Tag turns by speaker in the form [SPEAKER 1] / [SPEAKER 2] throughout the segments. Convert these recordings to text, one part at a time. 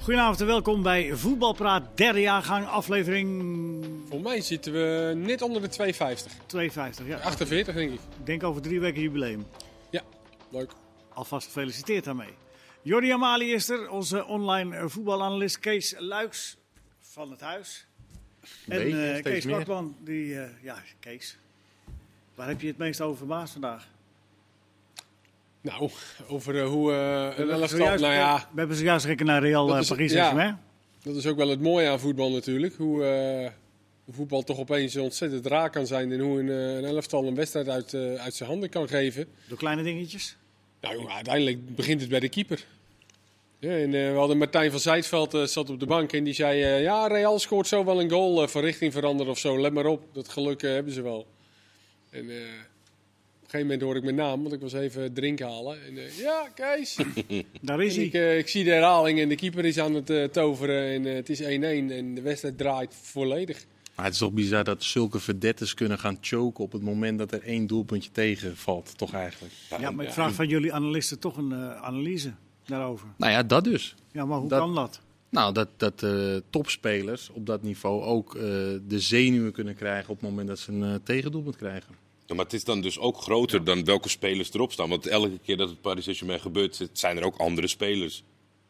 [SPEAKER 1] Goedenavond en welkom bij Voetbalpraat, derde jaargang, aflevering
[SPEAKER 2] Volgens mij zitten we net onder de 250.
[SPEAKER 1] 52. Ja,
[SPEAKER 2] 48 denk ik.
[SPEAKER 1] ik denk over drie weken jubileum.
[SPEAKER 2] Ja, leuk.
[SPEAKER 1] Alvast gefeliciteerd daarmee. Jordi Amali is er, onze online eh, voetbalanalist Kees Luiks van het Huis. En
[SPEAKER 3] beetje,
[SPEAKER 1] eh,
[SPEAKER 3] steeds
[SPEAKER 1] Kees
[SPEAKER 3] meer.
[SPEAKER 1] Bakman, die, eh, ja, Kees. Waar heb je het meest over verbaasd vandaag?
[SPEAKER 2] Nou, over eh, hoe eh een
[SPEAKER 1] We hebben
[SPEAKER 2] elftal...
[SPEAKER 1] zojuist-
[SPEAKER 2] Nou ja,
[SPEAKER 1] We hebben zojuist gekeken naar Real
[SPEAKER 2] Dat
[SPEAKER 1] eh,
[SPEAKER 2] is-
[SPEAKER 1] Paris
[SPEAKER 2] ja.
[SPEAKER 1] Saint-Germain.
[SPEAKER 2] dat is ook wel het mooie aan voetbal natuurlijk. Hoe eh, voetbal toch opeens ontzettend raar kan zijn. En hoe een, eh, een elftal een wedstrijd uit, eh, uit zijn handen kan geven.
[SPEAKER 1] Door kleine dingetjes.
[SPEAKER 2] Nou, joh, uiteindelijk begint het bij de keeper. Ja, en, eh, we hadden Martijn van Zijtveld eh, zat op de bank en die zei... eh, ja, Real scoort zo wel een goal eh, van richting veranderen of zo. Let maar op, dat geluk eh, hebben ze wel. En eh, op een gegeven moment hoor ik mijn naam, want ik was even drink halen. En, eh, ja, Kees.
[SPEAKER 1] Daar is
[SPEAKER 2] En ik,
[SPEAKER 1] hij.
[SPEAKER 2] eh, ik zie de herhaling en de keeper is aan het eh, toveren. En eh, het is 1-1 en de wedstrijd draait volledig.
[SPEAKER 3] Maar het is toch bizar dat zulke verdettes kunnen gaan choken op het moment dat er één doelpuntje tegenvalt, toch eigenlijk?
[SPEAKER 1] Ja, maar ik vraag van jullie analisten toch een eh, analyse daarover.
[SPEAKER 3] Nou ja, dat dus.
[SPEAKER 1] Ja, maar hoe
[SPEAKER 3] Dat-
[SPEAKER 1] kan dat?
[SPEAKER 3] Nou, dat, dat eh, topspelers op dat niveau ook eh, de zenuwen kunnen krijgen op het moment dat ze een eh, tegendoelpunt krijgen.
[SPEAKER 4] Ja, maar het is dan dus ook groter dan welke spelers erop staan. Want elke keer dat het Paris Saint-Germain gebeurt, het zijn er ook andere spelers.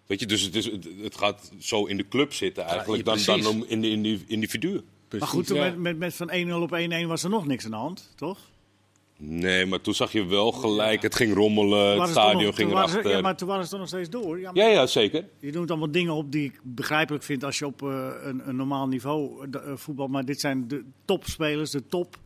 [SPEAKER 4] Weet je, dus het, is, het, het gaat zo in de club zitten eigenlijk
[SPEAKER 3] ja,
[SPEAKER 4] dan,
[SPEAKER 3] precies.
[SPEAKER 4] dan om in de, in de individuen.
[SPEAKER 3] Precies.
[SPEAKER 1] Maar goed,
[SPEAKER 2] ja.
[SPEAKER 1] met, met, met van 1-0 op 1-1 was er nog niks aan de hand, toch?
[SPEAKER 4] Nee, maar toen zag je wel gelijk, het ging rommelen,
[SPEAKER 1] Waren
[SPEAKER 4] het
[SPEAKER 1] ze toch
[SPEAKER 4] stadion
[SPEAKER 1] nog-
[SPEAKER 4] ging
[SPEAKER 1] toen waren ze-
[SPEAKER 4] erachter.
[SPEAKER 1] Ja,
[SPEAKER 4] Ja,
[SPEAKER 1] maar toen waren ze toch nog steeds door. Ja, maar
[SPEAKER 4] ja, zeker.
[SPEAKER 1] Je noemt allemaal dingen op die ik begrijpelijk vind als je op eh, een, een normaal niveau eh, d- eh, voetbal. Maar dit zijn de topspelers, de top.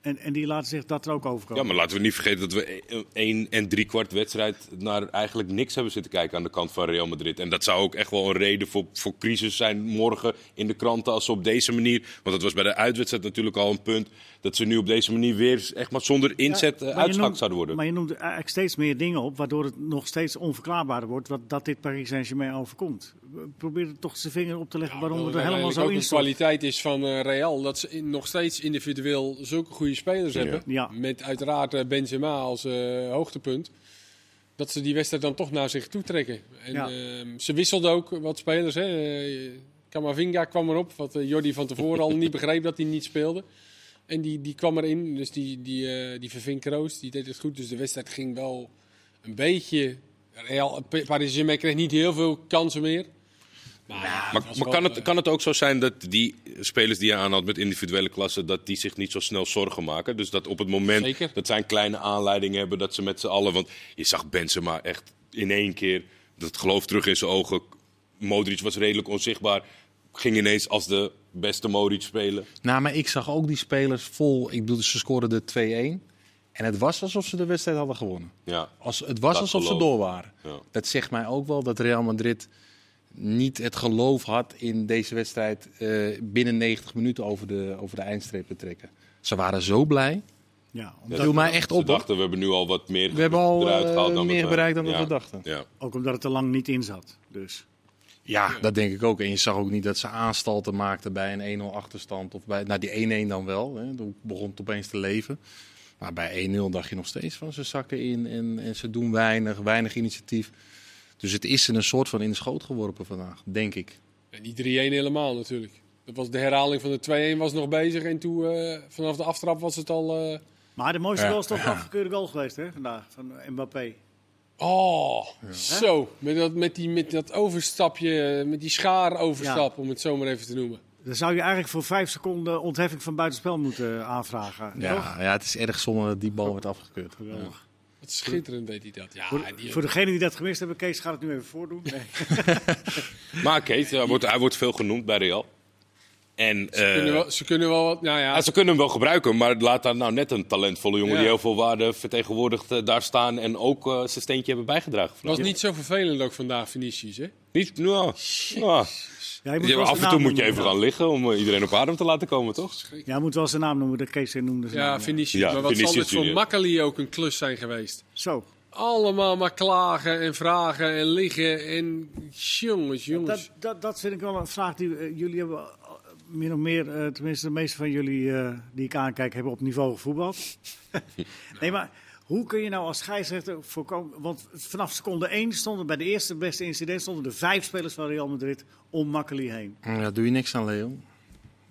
[SPEAKER 1] En, en die laten zich dat er ook over
[SPEAKER 4] Ja,
[SPEAKER 1] komen.
[SPEAKER 4] maar laten we niet vergeten dat we e- één en drie kwart wedstrijd naar eigenlijk niks hebben zitten kijken aan de kant van Real Madrid. En dat zou ook echt wel een reden voor, voor crisis zijn morgen in de kranten als ze op deze manier... Want dat was bij de uitwedstrijd natuurlijk al een punt, dat ze nu op deze manier weer echt maar zonder inzet
[SPEAKER 1] Ja,
[SPEAKER 4] eh,
[SPEAKER 1] maar je
[SPEAKER 4] uitschakeld
[SPEAKER 1] noemt-
[SPEAKER 4] zouden worden.
[SPEAKER 1] Maar je noemt eigenlijk steeds meer dingen op, waardoor het nog steeds onverklaarbaarder wordt wat, dat dit Paris Saint-Germain overkomt. Probeer er toch zijn vinger op te leggen waarom het er helemaal
[SPEAKER 2] uiteindelijk
[SPEAKER 1] zo
[SPEAKER 2] ook
[SPEAKER 1] in
[SPEAKER 2] de
[SPEAKER 1] stort.
[SPEAKER 2] kwaliteit is van eh, Real dat ze in- nog steeds individueel zulke goede spelers hebben.
[SPEAKER 1] Ja.
[SPEAKER 2] Met uiteraard eh, Benzema als eh, hoogtepunt. Dat ze die wedstrijd dan toch naar zich toe trekken. En,
[SPEAKER 1] Ja.
[SPEAKER 2] ehm, ze wisselden ook wat spelers. Hè. Eh, Camavinga kwam erop, wat eh, Jordi van tevoren al niet begreep dat hij niet speelde. En die, die kwam erin, dus die, die, eh, die verving Kroos, die deed het goed. Dus de wedstrijd ging wel een beetje... Real, Paris Saint-Germain kreeg niet heel veel kansen meer. Maar, ja, het
[SPEAKER 4] Maar,
[SPEAKER 2] was
[SPEAKER 4] maar
[SPEAKER 2] wel,
[SPEAKER 4] kan, het,
[SPEAKER 2] eh,
[SPEAKER 4] kan het ook zo zijn dat die spelers die je aanhaalt met individuele klassen, dat die zich niet zo snel zorgen maken? Dus dat op het moment
[SPEAKER 2] Zeker.
[SPEAKER 4] dat zij een kleine aanleiding hebben, dat ze met z'n allen... Want je zag Benzema echt in één keer, dat geloof terug in zijn ogen. Modric was redelijk onzichtbaar, ging ineens als de beste Modric spelen.
[SPEAKER 3] Nou, maar ik zag ook die spelers vol. Ik bedoel, ze scoren de 2-1. En het was alsof ze de wedstrijd hadden gewonnen.
[SPEAKER 4] Ja.
[SPEAKER 3] Als, het was
[SPEAKER 4] Dat
[SPEAKER 3] alsof ze
[SPEAKER 4] geloof.
[SPEAKER 3] door waren.
[SPEAKER 4] Ja.
[SPEAKER 3] Dat zegt mij ook wel dat Real Madrid niet het geloof had in deze wedstrijd eh, binnen 90 minuten over de, over de eindstreep te trekken. Ze waren zo blij.
[SPEAKER 1] Ja, omdat-
[SPEAKER 3] Dat viel mij echt
[SPEAKER 4] Ze
[SPEAKER 3] op. hoor.
[SPEAKER 4] dachten, we hebben nu al wat meer
[SPEAKER 3] We hebben al
[SPEAKER 4] eruit
[SPEAKER 3] eh,
[SPEAKER 4] gehaald dan
[SPEAKER 3] meer
[SPEAKER 4] we-
[SPEAKER 3] bereikt dan dat
[SPEAKER 4] ja.
[SPEAKER 3] we dachten.
[SPEAKER 4] Ja.
[SPEAKER 1] Ook omdat het er lang niet in zat. Dus.
[SPEAKER 3] Ja, dat denk ik ook. En je zag ook niet dat ze aanstalten maakten bij een 1-0 achterstand. Of bij, nou, die 1-1 dan wel. Hè. Toen begon het opeens te leven. Maar bij 1-0 dacht je nog steeds van ze zakken in en, en ze doen weinig, weinig initiatief. Dus het is ze een soort van in de schoot geworpen vandaag, denk ik.
[SPEAKER 2] En die 3-1 helemaal natuurlijk. Dat was de herhaling van de 2-1 was nog bezig en toen eh, vanaf de aftrap was het al... eh,
[SPEAKER 1] Maar de mooiste
[SPEAKER 3] Ja.
[SPEAKER 1] goal is toch de afgekeurde goal geweest hè, vandaag van Mbappé.
[SPEAKER 2] Oh, zo. Met dat, met, die, met dat overstapje, eh, met die schaaroverstap, om het zo maar even te noemen.
[SPEAKER 1] Dan zou je eigenlijk voor vijf seconden ontheffing van buitenspel moeten eh, aanvragen. toch?
[SPEAKER 3] Ja, ja, het is erg zonde dat die bal werd afgekeurd.
[SPEAKER 1] Geweldig.
[SPEAKER 2] Wat schitterend deed hij dat. Ja,
[SPEAKER 1] Voor,
[SPEAKER 2] die,
[SPEAKER 1] voor degenen die dat gemist hebben, Kees gaat het nu even voordoen. Nee.
[SPEAKER 4] Maar Kees, hij wordt, hij wordt veel genoemd bij Real. En, eh,
[SPEAKER 2] ze, kunnen wel, ze kunnen wel wat... Nou ja,
[SPEAKER 4] Ja, ze kunnen hem wel gebruiken, maar laat daar nou net een talentvolle jongen
[SPEAKER 2] Ja.
[SPEAKER 4] die heel veel waarde vertegenwoordigt eh, daar staan en ook eh, zijn steentje hebben bijgedragen.
[SPEAKER 2] het was niet zo vervelend ook vandaag, Vinicius. Hè?
[SPEAKER 4] Niet, nou, nou.
[SPEAKER 1] Ja, je
[SPEAKER 4] Ja,
[SPEAKER 1] wel
[SPEAKER 4] af
[SPEAKER 1] zijn
[SPEAKER 4] en toe
[SPEAKER 1] naam
[SPEAKER 4] moet je
[SPEAKER 1] noemen.
[SPEAKER 4] even gaan liggen om eh, iedereen op adem te laten komen, toch?
[SPEAKER 1] Ja, je moet wel zijn naam noemen, dat Kees zijn noemde. zijn
[SPEAKER 2] Ja,
[SPEAKER 1] naam,
[SPEAKER 2] Vinicius.
[SPEAKER 4] Ja,
[SPEAKER 2] maar wat
[SPEAKER 4] Vinicius eh,
[SPEAKER 2] zal dit voor
[SPEAKER 4] junior.
[SPEAKER 2] Makkeli ook een klus zijn geweest?
[SPEAKER 1] Zo.
[SPEAKER 2] Allemaal maar klagen en vragen en liggen en... Jongens,
[SPEAKER 1] Dat,
[SPEAKER 2] jongens.
[SPEAKER 1] dat, dat vind ik wel een vraag die eh, jullie hebben, eh, min of meer, eh, tenminste de meeste van jullie eh, die ik aankijk, hebben op niveau gevoetbald. nee, maar Hoe kun je nou als scheidsrechter voorkomen? Want vanaf seconde 1 stonden bij de eerste beste incident stonden er vijf spelers van Real Madrid om Makkeli heen.
[SPEAKER 3] Ja, daar doe je niks aan, Leo.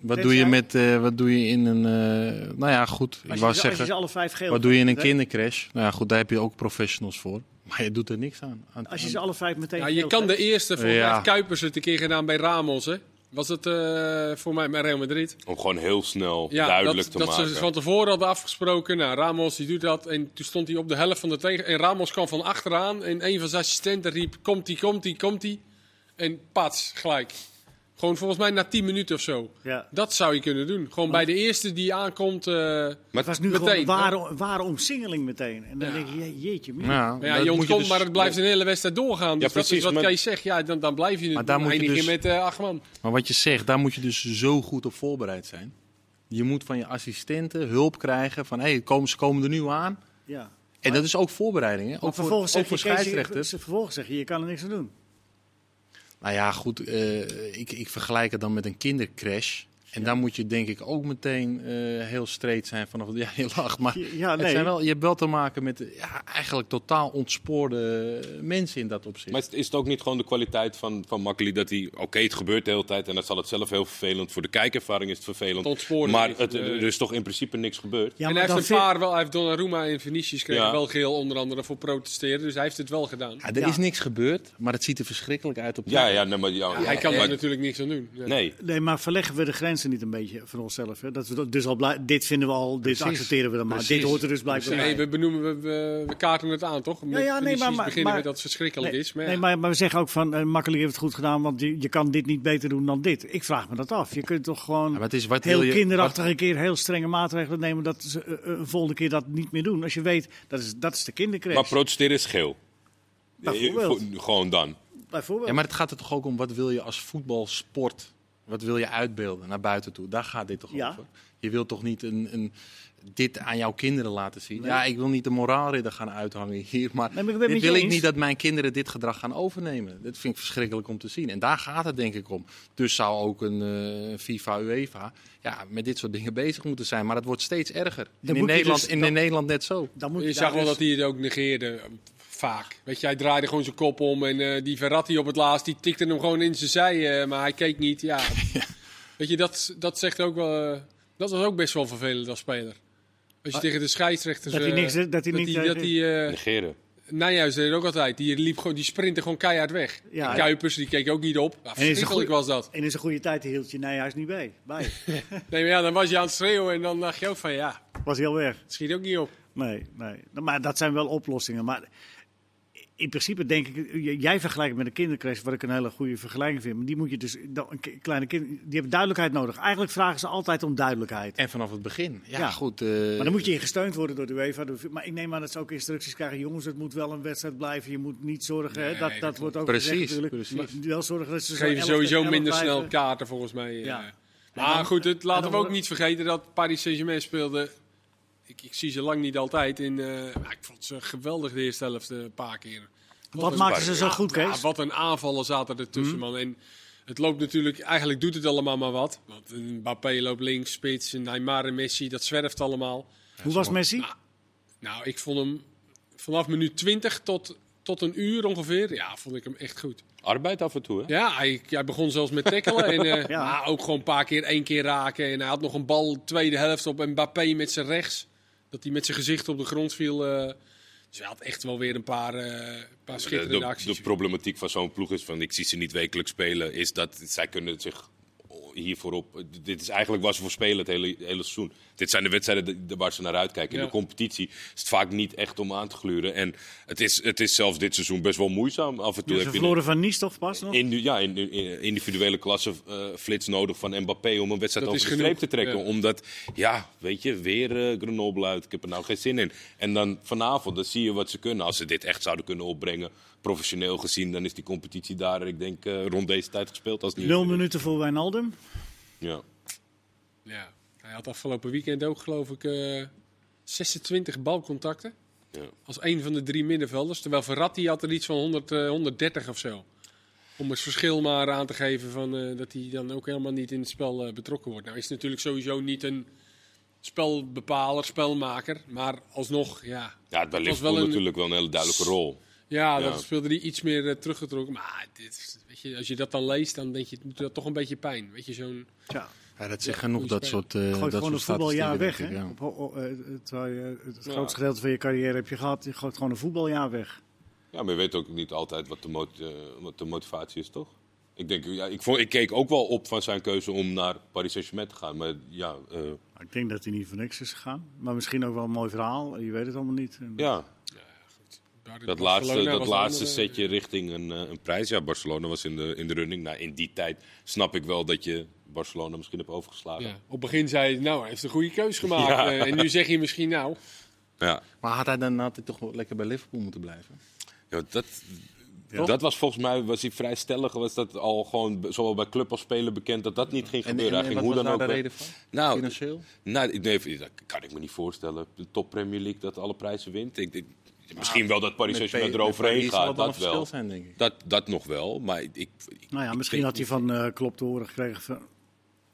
[SPEAKER 3] Wat
[SPEAKER 1] Dit
[SPEAKER 3] doe je,
[SPEAKER 1] zijn-
[SPEAKER 3] met, eh, wat doe je in een. eh, nou ja, goed. Ik
[SPEAKER 1] Als je,
[SPEAKER 3] wou
[SPEAKER 1] ze- als je ze
[SPEAKER 3] zeggen.
[SPEAKER 1] alle vijf geel
[SPEAKER 3] Wat doe je in een
[SPEAKER 1] geeft, hè?
[SPEAKER 3] kindercrash? Nou ja, goed, daar heb je ook professionals voor. Maar je doet er niks aan. Aan-
[SPEAKER 1] Als je ze alle vijf meteen
[SPEAKER 2] Ja,
[SPEAKER 1] geel
[SPEAKER 2] je kan de
[SPEAKER 1] geeft.
[SPEAKER 2] eerste, voor
[SPEAKER 3] Ja.
[SPEAKER 2] mij heeft Kuipers het een keer gedaan bij Ramos. Hè? Was het eh, voor mij bij Real Madrid?
[SPEAKER 4] Om gewoon heel snel
[SPEAKER 2] Ja,
[SPEAKER 4] duidelijk
[SPEAKER 2] dat,
[SPEAKER 4] te
[SPEAKER 2] dat
[SPEAKER 4] maken.
[SPEAKER 2] ze van tevoren hadden afgesproken. Nou, Ramos die doet dat. En toen stond hij op de helft van de tegen. En Ramos kwam van achteraan. En een van zijn assistenten riep: Komt-ie, komt-ie, komt-ie. En pats, gelijk. Gewoon volgens mij na 10 minuten of zo.
[SPEAKER 1] Ja.
[SPEAKER 2] Dat zou je kunnen doen. Gewoon bij de eerste die aankomt. eh,
[SPEAKER 4] Maar
[SPEAKER 1] Het was nu gewoon
[SPEAKER 2] Meteen,
[SPEAKER 1] een ware, ware omsingeling meteen. En dan
[SPEAKER 2] Ja.
[SPEAKER 1] denk je, je- jeetje. mina.
[SPEAKER 3] Ja,
[SPEAKER 2] maar ja,
[SPEAKER 3] dat
[SPEAKER 2] je
[SPEAKER 3] moet
[SPEAKER 2] ontkomt,
[SPEAKER 3] dus-
[SPEAKER 2] maar het blijft een hele wedstrijd doorgaan. Dus dat
[SPEAKER 4] precies,
[SPEAKER 2] is wat
[SPEAKER 4] maar-
[SPEAKER 2] jij zegt. Ja, dan, dan blijf je het
[SPEAKER 3] Maar daar
[SPEAKER 2] doen.
[SPEAKER 3] moet je
[SPEAKER 2] eindig je
[SPEAKER 3] dus-
[SPEAKER 2] met eh acht man.
[SPEAKER 3] Maar wat je zegt, daar moet je dus zo goed op voorbereid zijn. Je moet van je assistenten hulp krijgen van hé, komen, ze komen er nu aan.
[SPEAKER 1] Ja.
[SPEAKER 3] En dat is ook voorbereiding, hè?
[SPEAKER 1] Maar
[SPEAKER 3] Ook voor, ook
[SPEAKER 1] vervolgens, zeg
[SPEAKER 3] voor
[SPEAKER 1] je, Kees, je,
[SPEAKER 3] scheidsrechters.
[SPEAKER 1] ze- vervolgens zeg je, je kan er niks aan doen.
[SPEAKER 3] Nou ja, goed, eh, ik, ik vergelijk het dan met een kindercrash. En daar moet je denk ik ook meteen eh, heel streed zijn vanaf. Ja, je lacht, maar
[SPEAKER 1] Ja, ja,
[SPEAKER 3] het
[SPEAKER 1] nee.
[SPEAKER 3] zijn wel, je hebt wel te maken met eh, ja, eigenlijk totaal ontspoorde mensen in dat opzicht.
[SPEAKER 4] Maar is, is het ook niet gewoon de kwaliteit van, van Makkeli dat hij... Oké, het gebeurt de hele tijd en dat zal het zelf heel vervelend. Voor de kijkervaring is het vervelend.
[SPEAKER 2] Het ontsporen
[SPEAKER 4] maar
[SPEAKER 2] is,
[SPEAKER 4] het,
[SPEAKER 2] eh,
[SPEAKER 4] er is toch in principe niks gebeurd?
[SPEAKER 1] Ja,
[SPEAKER 2] en
[SPEAKER 1] maar
[SPEAKER 2] hij
[SPEAKER 1] dan
[SPEAKER 2] heeft een
[SPEAKER 1] vind-
[SPEAKER 2] paar wel, hij heeft Donnarumma en Vinicius kregen
[SPEAKER 4] Ja.
[SPEAKER 2] wel geel onder andere voor protesteren. Dus hij heeft het wel gedaan.
[SPEAKER 3] Ja, er
[SPEAKER 1] Ja.
[SPEAKER 3] is niks gebeurd, maar het ziet er verschrikkelijk uit op
[SPEAKER 4] Ja, ja, nee, maar... Ja,
[SPEAKER 2] hij kan
[SPEAKER 4] maar-
[SPEAKER 2] er natuurlijk niks aan doen. Ja.
[SPEAKER 4] Nee,
[SPEAKER 1] Nee, maar verleggen we de grenzen niet een beetje van onszelf? Hè? Dat we dat- dus al blij- dit vinden we al, dit accepteren we dan maar.
[SPEAKER 3] Precies.
[SPEAKER 1] Dit hoort er dus blijkbaar
[SPEAKER 2] Nee,
[SPEAKER 1] bij.
[SPEAKER 2] eh, we benoemen, we, we, we kaarten het aan, toch? Met
[SPEAKER 1] Nou Ja, ja, nee,
[SPEAKER 2] Vinicius
[SPEAKER 1] maar- maar-
[SPEAKER 2] beginnen
[SPEAKER 1] maar-
[SPEAKER 2] met dat het verschrikkelijk is. Maar,
[SPEAKER 1] nee,
[SPEAKER 2] ja.
[SPEAKER 1] maar, maar we zeggen ook van, eh Makkeli heeft het goed gedaan, want je, je kan dit niet beter doen dan dit. Ik vraag me dat af. Je kunt toch gewoon
[SPEAKER 3] Ja, maar het is wat
[SPEAKER 1] heel
[SPEAKER 3] wil je-
[SPEAKER 1] kinderachtig een keer heel strenge maatregelen nemen dat ze eh, eh, een volgende keer dat niet meer doen. Als je weet, dat is, dat is de kindercrash.
[SPEAKER 4] maar protesteren is geel. Eh,
[SPEAKER 1] Bijvoorbeeld.
[SPEAKER 4] voor- Gewoon dan.
[SPEAKER 1] Bijvoorbeeld.
[SPEAKER 3] Ja, maar het gaat er toch ook om wat wil je als voetbalsport? Wat wil je uitbeelden naar buiten toe? Daar gaat dit toch
[SPEAKER 1] Ja.
[SPEAKER 3] over? Je wilt toch niet een, een, dit aan jouw kinderen laten zien? Ja, ik wil niet de moraalridder gaan uithangen hier.
[SPEAKER 1] Nee, maar
[SPEAKER 3] Maar,
[SPEAKER 1] ik ben het
[SPEAKER 3] dit
[SPEAKER 1] met je
[SPEAKER 3] wil ik
[SPEAKER 1] eens.
[SPEAKER 3] niet dat mijn kinderen dit gedrag gaan overnemen. Dat vind ik verschrikkelijk om te zien. En daar gaat het denk ik om. Dus zou ook een eh, FIFA, UEFA ja, met dit soort dingen bezig moeten zijn. Maar het wordt steeds erger. En
[SPEAKER 1] moet
[SPEAKER 3] in
[SPEAKER 1] je
[SPEAKER 3] Nederland,
[SPEAKER 1] dus-
[SPEAKER 3] en in
[SPEAKER 1] dan-
[SPEAKER 3] Nederland net zo.
[SPEAKER 1] dan moet
[SPEAKER 2] je
[SPEAKER 1] daar
[SPEAKER 2] zag wel
[SPEAKER 1] dus-
[SPEAKER 2] dat hij het ook negeerde, eh, vaak. Weet je, hij draaide gewoon zijn kop om en eh, die Verratti op het laatst, die tikte hem gewoon in zijn zij, eh, maar hij keek niet. Ja. Weet je, dat, dat zegt ook wel... eh, dat was ook best wel vervelend als speler. Als je tegen de scheidsrechters...
[SPEAKER 1] Ah, dat hij
[SPEAKER 2] eh,
[SPEAKER 1] niks- dat hij niet
[SPEAKER 2] Dat hij, eh,
[SPEAKER 4] Negeren.
[SPEAKER 2] Nijhuis deed het ook altijd. Die, liep gewoon, die sprintte gewoon keihard weg.
[SPEAKER 1] Ja,
[SPEAKER 2] En
[SPEAKER 1] ja.
[SPEAKER 2] Kuipers, die keek ook niet op. Ja,
[SPEAKER 1] een
[SPEAKER 2] verschrikkelijk
[SPEAKER 1] goeie-
[SPEAKER 2] was dat.
[SPEAKER 1] En in zijn goede tijd hield je Nijhuis niet bij. bij.
[SPEAKER 2] Nee, maar ja, dan was je aan het schreeuwen en dan dacht je ook van ja,
[SPEAKER 1] Was heel erg.
[SPEAKER 2] het schiet ook niet op.
[SPEAKER 1] Nee, nee. Nou, Maar dat zijn wel oplossingen. Maar in principe denk ik, j- jij vergelijkt met een kindercrash, wat ik een hele goede vergelijking vind. Maar die moet je dus, dan- een k- kleine kind, die hebben duidelijkheid nodig. Eigenlijk vragen ze altijd om duidelijkheid.
[SPEAKER 3] En vanaf het begin. Ja,
[SPEAKER 1] Ja.
[SPEAKER 3] goed. eh,
[SPEAKER 1] Maar dan moet je in gesteund worden door de UEFA. door de- Maar ik neem aan dat ze ook instructies krijgen. Jongens, het moet wel een wedstrijd blijven. Je moet niet zorgen. hè, dat,
[SPEAKER 2] dat
[SPEAKER 1] dat wordt ook
[SPEAKER 3] Precies,
[SPEAKER 1] gezegd natuurlijk.
[SPEAKER 3] precies.
[SPEAKER 1] Maar Wel zorgen dat ze
[SPEAKER 2] Ze
[SPEAKER 1] zo
[SPEAKER 2] geven
[SPEAKER 1] 11
[SPEAKER 2] sowieso
[SPEAKER 1] tegen 11
[SPEAKER 2] minder snel
[SPEAKER 1] blijven.
[SPEAKER 2] kaarten volgens mij. eh.
[SPEAKER 1] Ja.
[SPEAKER 2] Maar
[SPEAKER 1] En dan-
[SPEAKER 2] goed, het,
[SPEAKER 1] en
[SPEAKER 2] laten we
[SPEAKER 1] dan
[SPEAKER 2] ook
[SPEAKER 1] wordt-
[SPEAKER 2] niet vergeten dat Paris Saint-Germain speelde. Ik, ik zie ze lang niet altijd. In, eh, maar ik vond ze geweldig de eerste helft eh, een paar keer.
[SPEAKER 1] Wat
[SPEAKER 2] een-
[SPEAKER 1] maakten ze zo
[SPEAKER 2] Ja,
[SPEAKER 1] goed,
[SPEAKER 2] ja,
[SPEAKER 1] Kees? Mhm.
[SPEAKER 2] wat een aanvallen zaten ertussen, man. En het loopt natuurlijk, eigenlijk doet het allemaal maar wat. Want een Mbappé loopt links, spits, en Neymar en Messi, dat zwerft allemaal.
[SPEAKER 1] Hoe was Messi?
[SPEAKER 2] Nou, ik vond hem vanaf minuut 20 tot, tot een uur ongeveer, ja, vond ik hem echt goed.
[SPEAKER 4] Arbeid af en toe, hè?
[SPEAKER 2] Ja, hij, hij begon zelfs met tackelen. en, eh,
[SPEAKER 1] Ja.
[SPEAKER 2] maar ook gewoon een paar keer één keer raken. En hij had nog een bal tweede helft op Mbappé met zijn rechts. Dat hij met zijn gezicht op de grond viel. eh. dus hij had echt wel weer een paar, eh, paar
[SPEAKER 4] De,
[SPEAKER 2] schitterende
[SPEAKER 4] de,
[SPEAKER 2] acties.
[SPEAKER 4] de problematiek van zo'n ploeg is van ik zie ze niet wekelijks spelen, is dat zij kunnen zich hiervoor op. Dit is eigenlijk waar ze voor spelen het hele, hele seizoen. Dit zijn de wedstrijden de- de- waar ze naar uitkijken. In
[SPEAKER 2] Ja.
[SPEAKER 4] de competitie is het vaak niet echt om aan te gluren. En het is, het is zelfs dit seizoen best wel moeizaam. Af en toe
[SPEAKER 1] Ze
[SPEAKER 4] heb je
[SPEAKER 1] verloren van Nice toch pas nog?
[SPEAKER 4] in, ja, in, in- individuele klasse eh, flits nodig van Mbappé om een wedstrijd
[SPEAKER 2] Dat
[SPEAKER 4] over de
[SPEAKER 2] is
[SPEAKER 4] streep te
[SPEAKER 2] genoeg,
[SPEAKER 4] trekken.
[SPEAKER 2] ja.
[SPEAKER 4] Omdat, ja, weet je, weer eh, Grenoble uit. Ik heb er nou geen zin in. En dan vanavond, dan zie je wat ze kunnen. Als ze dit echt zouden kunnen opbrengen, professioneel gezien, dan is die competitie daar, ik denk, eh, rond deze tijd gespeeld. Als het niet
[SPEAKER 1] Nul minuten voor Wijnaldum.
[SPEAKER 4] Ja.
[SPEAKER 2] Ja. Hij had afgelopen weekend ook, geloof ik, eh, 26 balcontacten.
[SPEAKER 4] Ja.
[SPEAKER 2] Als een van de drie middenvelders. Terwijl Verratti had er iets van 100, eh, 130 of zo. Om het verschil maar aan te geven van, eh, dat hij dan ook helemaal niet in het spel eh, betrokken wordt. Nou is het natuurlijk sowieso niet een spelbepaler, spelmaker. Maar alsnog, ja.
[SPEAKER 4] Ja, het bij
[SPEAKER 2] was
[SPEAKER 4] Liverpool
[SPEAKER 2] wel een-
[SPEAKER 4] natuurlijk wel een hele duidelijke rol.
[SPEAKER 2] Ja,
[SPEAKER 4] Ja.
[SPEAKER 2] dan speelde hij iets meer eh, teruggetrokken. Maar dit, is- weet je, als je dat dan leest, dan denk je, het doet dat toch een beetje pijn. Weet je, zo'n...
[SPEAKER 1] Tja,
[SPEAKER 3] Ja, dat zegt genoeg, dat
[SPEAKER 2] speler.
[SPEAKER 3] soort, eh dat
[SPEAKER 1] gooi
[SPEAKER 3] soort
[SPEAKER 1] gewoon een
[SPEAKER 3] statistieken,
[SPEAKER 1] voetbaljaar
[SPEAKER 3] denk
[SPEAKER 1] weg.
[SPEAKER 3] ik,
[SPEAKER 1] Hè?
[SPEAKER 3] ja.
[SPEAKER 1] Op- op- eh, terwijl je het
[SPEAKER 4] Ja.
[SPEAKER 1] grootste gedeelte van je carrière heb je gehad. Je gooit gewoon een voetbaljaar weg.
[SPEAKER 4] Ja, maar je weet ook niet altijd wat de, mot- eh, wat de motivatie is, toch? Ik, denk, ja, ik, vond, ik keek ook wel op van zijn keuze om naar Paris Saint-Germain te gaan. Maar ja, eh,
[SPEAKER 1] Maar Nou, Ik denk dat hij niet voor niks is gegaan. Maar misschien ook wel een mooi verhaal. Je weet het allemaal niet. Nou En-
[SPEAKER 4] ja dat laatste,
[SPEAKER 2] Barcelona
[SPEAKER 4] dat
[SPEAKER 2] was
[SPEAKER 4] laatste
[SPEAKER 2] een andere-
[SPEAKER 4] setje richting een, eh, een prijs. Ja, Barcelona was in de, in de running. Nou, in die tijd snap ik wel dat je Barcelona misschien hebt overgeslagen.
[SPEAKER 2] Ja, op het begin zei je, nou, hij heeft een goede keus gemaakt.
[SPEAKER 4] Ja.
[SPEAKER 2] Eh, en nu zeg je misschien, nou...
[SPEAKER 4] ja.
[SPEAKER 3] Maar had hij dan had hij toch wel lekker bij Liverpool moeten blijven?
[SPEAKER 4] Ja, dat, dat was volgens mij was hij vrij stellig. Was dat al gewoon b- zowel bij club als speler bekend dat dat niet ging
[SPEAKER 3] En, en,
[SPEAKER 4] gebeuren.
[SPEAKER 3] en
[SPEAKER 4] Hij
[SPEAKER 3] wat
[SPEAKER 4] ging hoe
[SPEAKER 3] was
[SPEAKER 4] dan
[SPEAKER 3] daar
[SPEAKER 4] ook.
[SPEAKER 3] de
[SPEAKER 4] weg.
[SPEAKER 3] reden van?
[SPEAKER 4] Nou,
[SPEAKER 3] Financieel?
[SPEAKER 4] nou ik- nee, dat kan ik me niet voorstellen. De top Premier League dat alle prijzen wint. Ik, ik- misschien wel dat Paris
[SPEAKER 3] Ah, Met
[SPEAKER 4] Saint-Germain
[SPEAKER 3] P-
[SPEAKER 4] eroverheen
[SPEAKER 3] met Paris zal het
[SPEAKER 4] gaat.
[SPEAKER 3] wel een
[SPEAKER 4] Dat
[SPEAKER 3] verschil
[SPEAKER 4] wel.
[SPEAKER 3] zijn, denk ik.
[SPEAKER 4] Dat, dat nog wel. Maar ik, ik,
[SPEAKER 1] Nou ja, misschien had
[SPEAKER 4] denk
[SPEAKER 1] hij van eh Klop te horen gekregen van...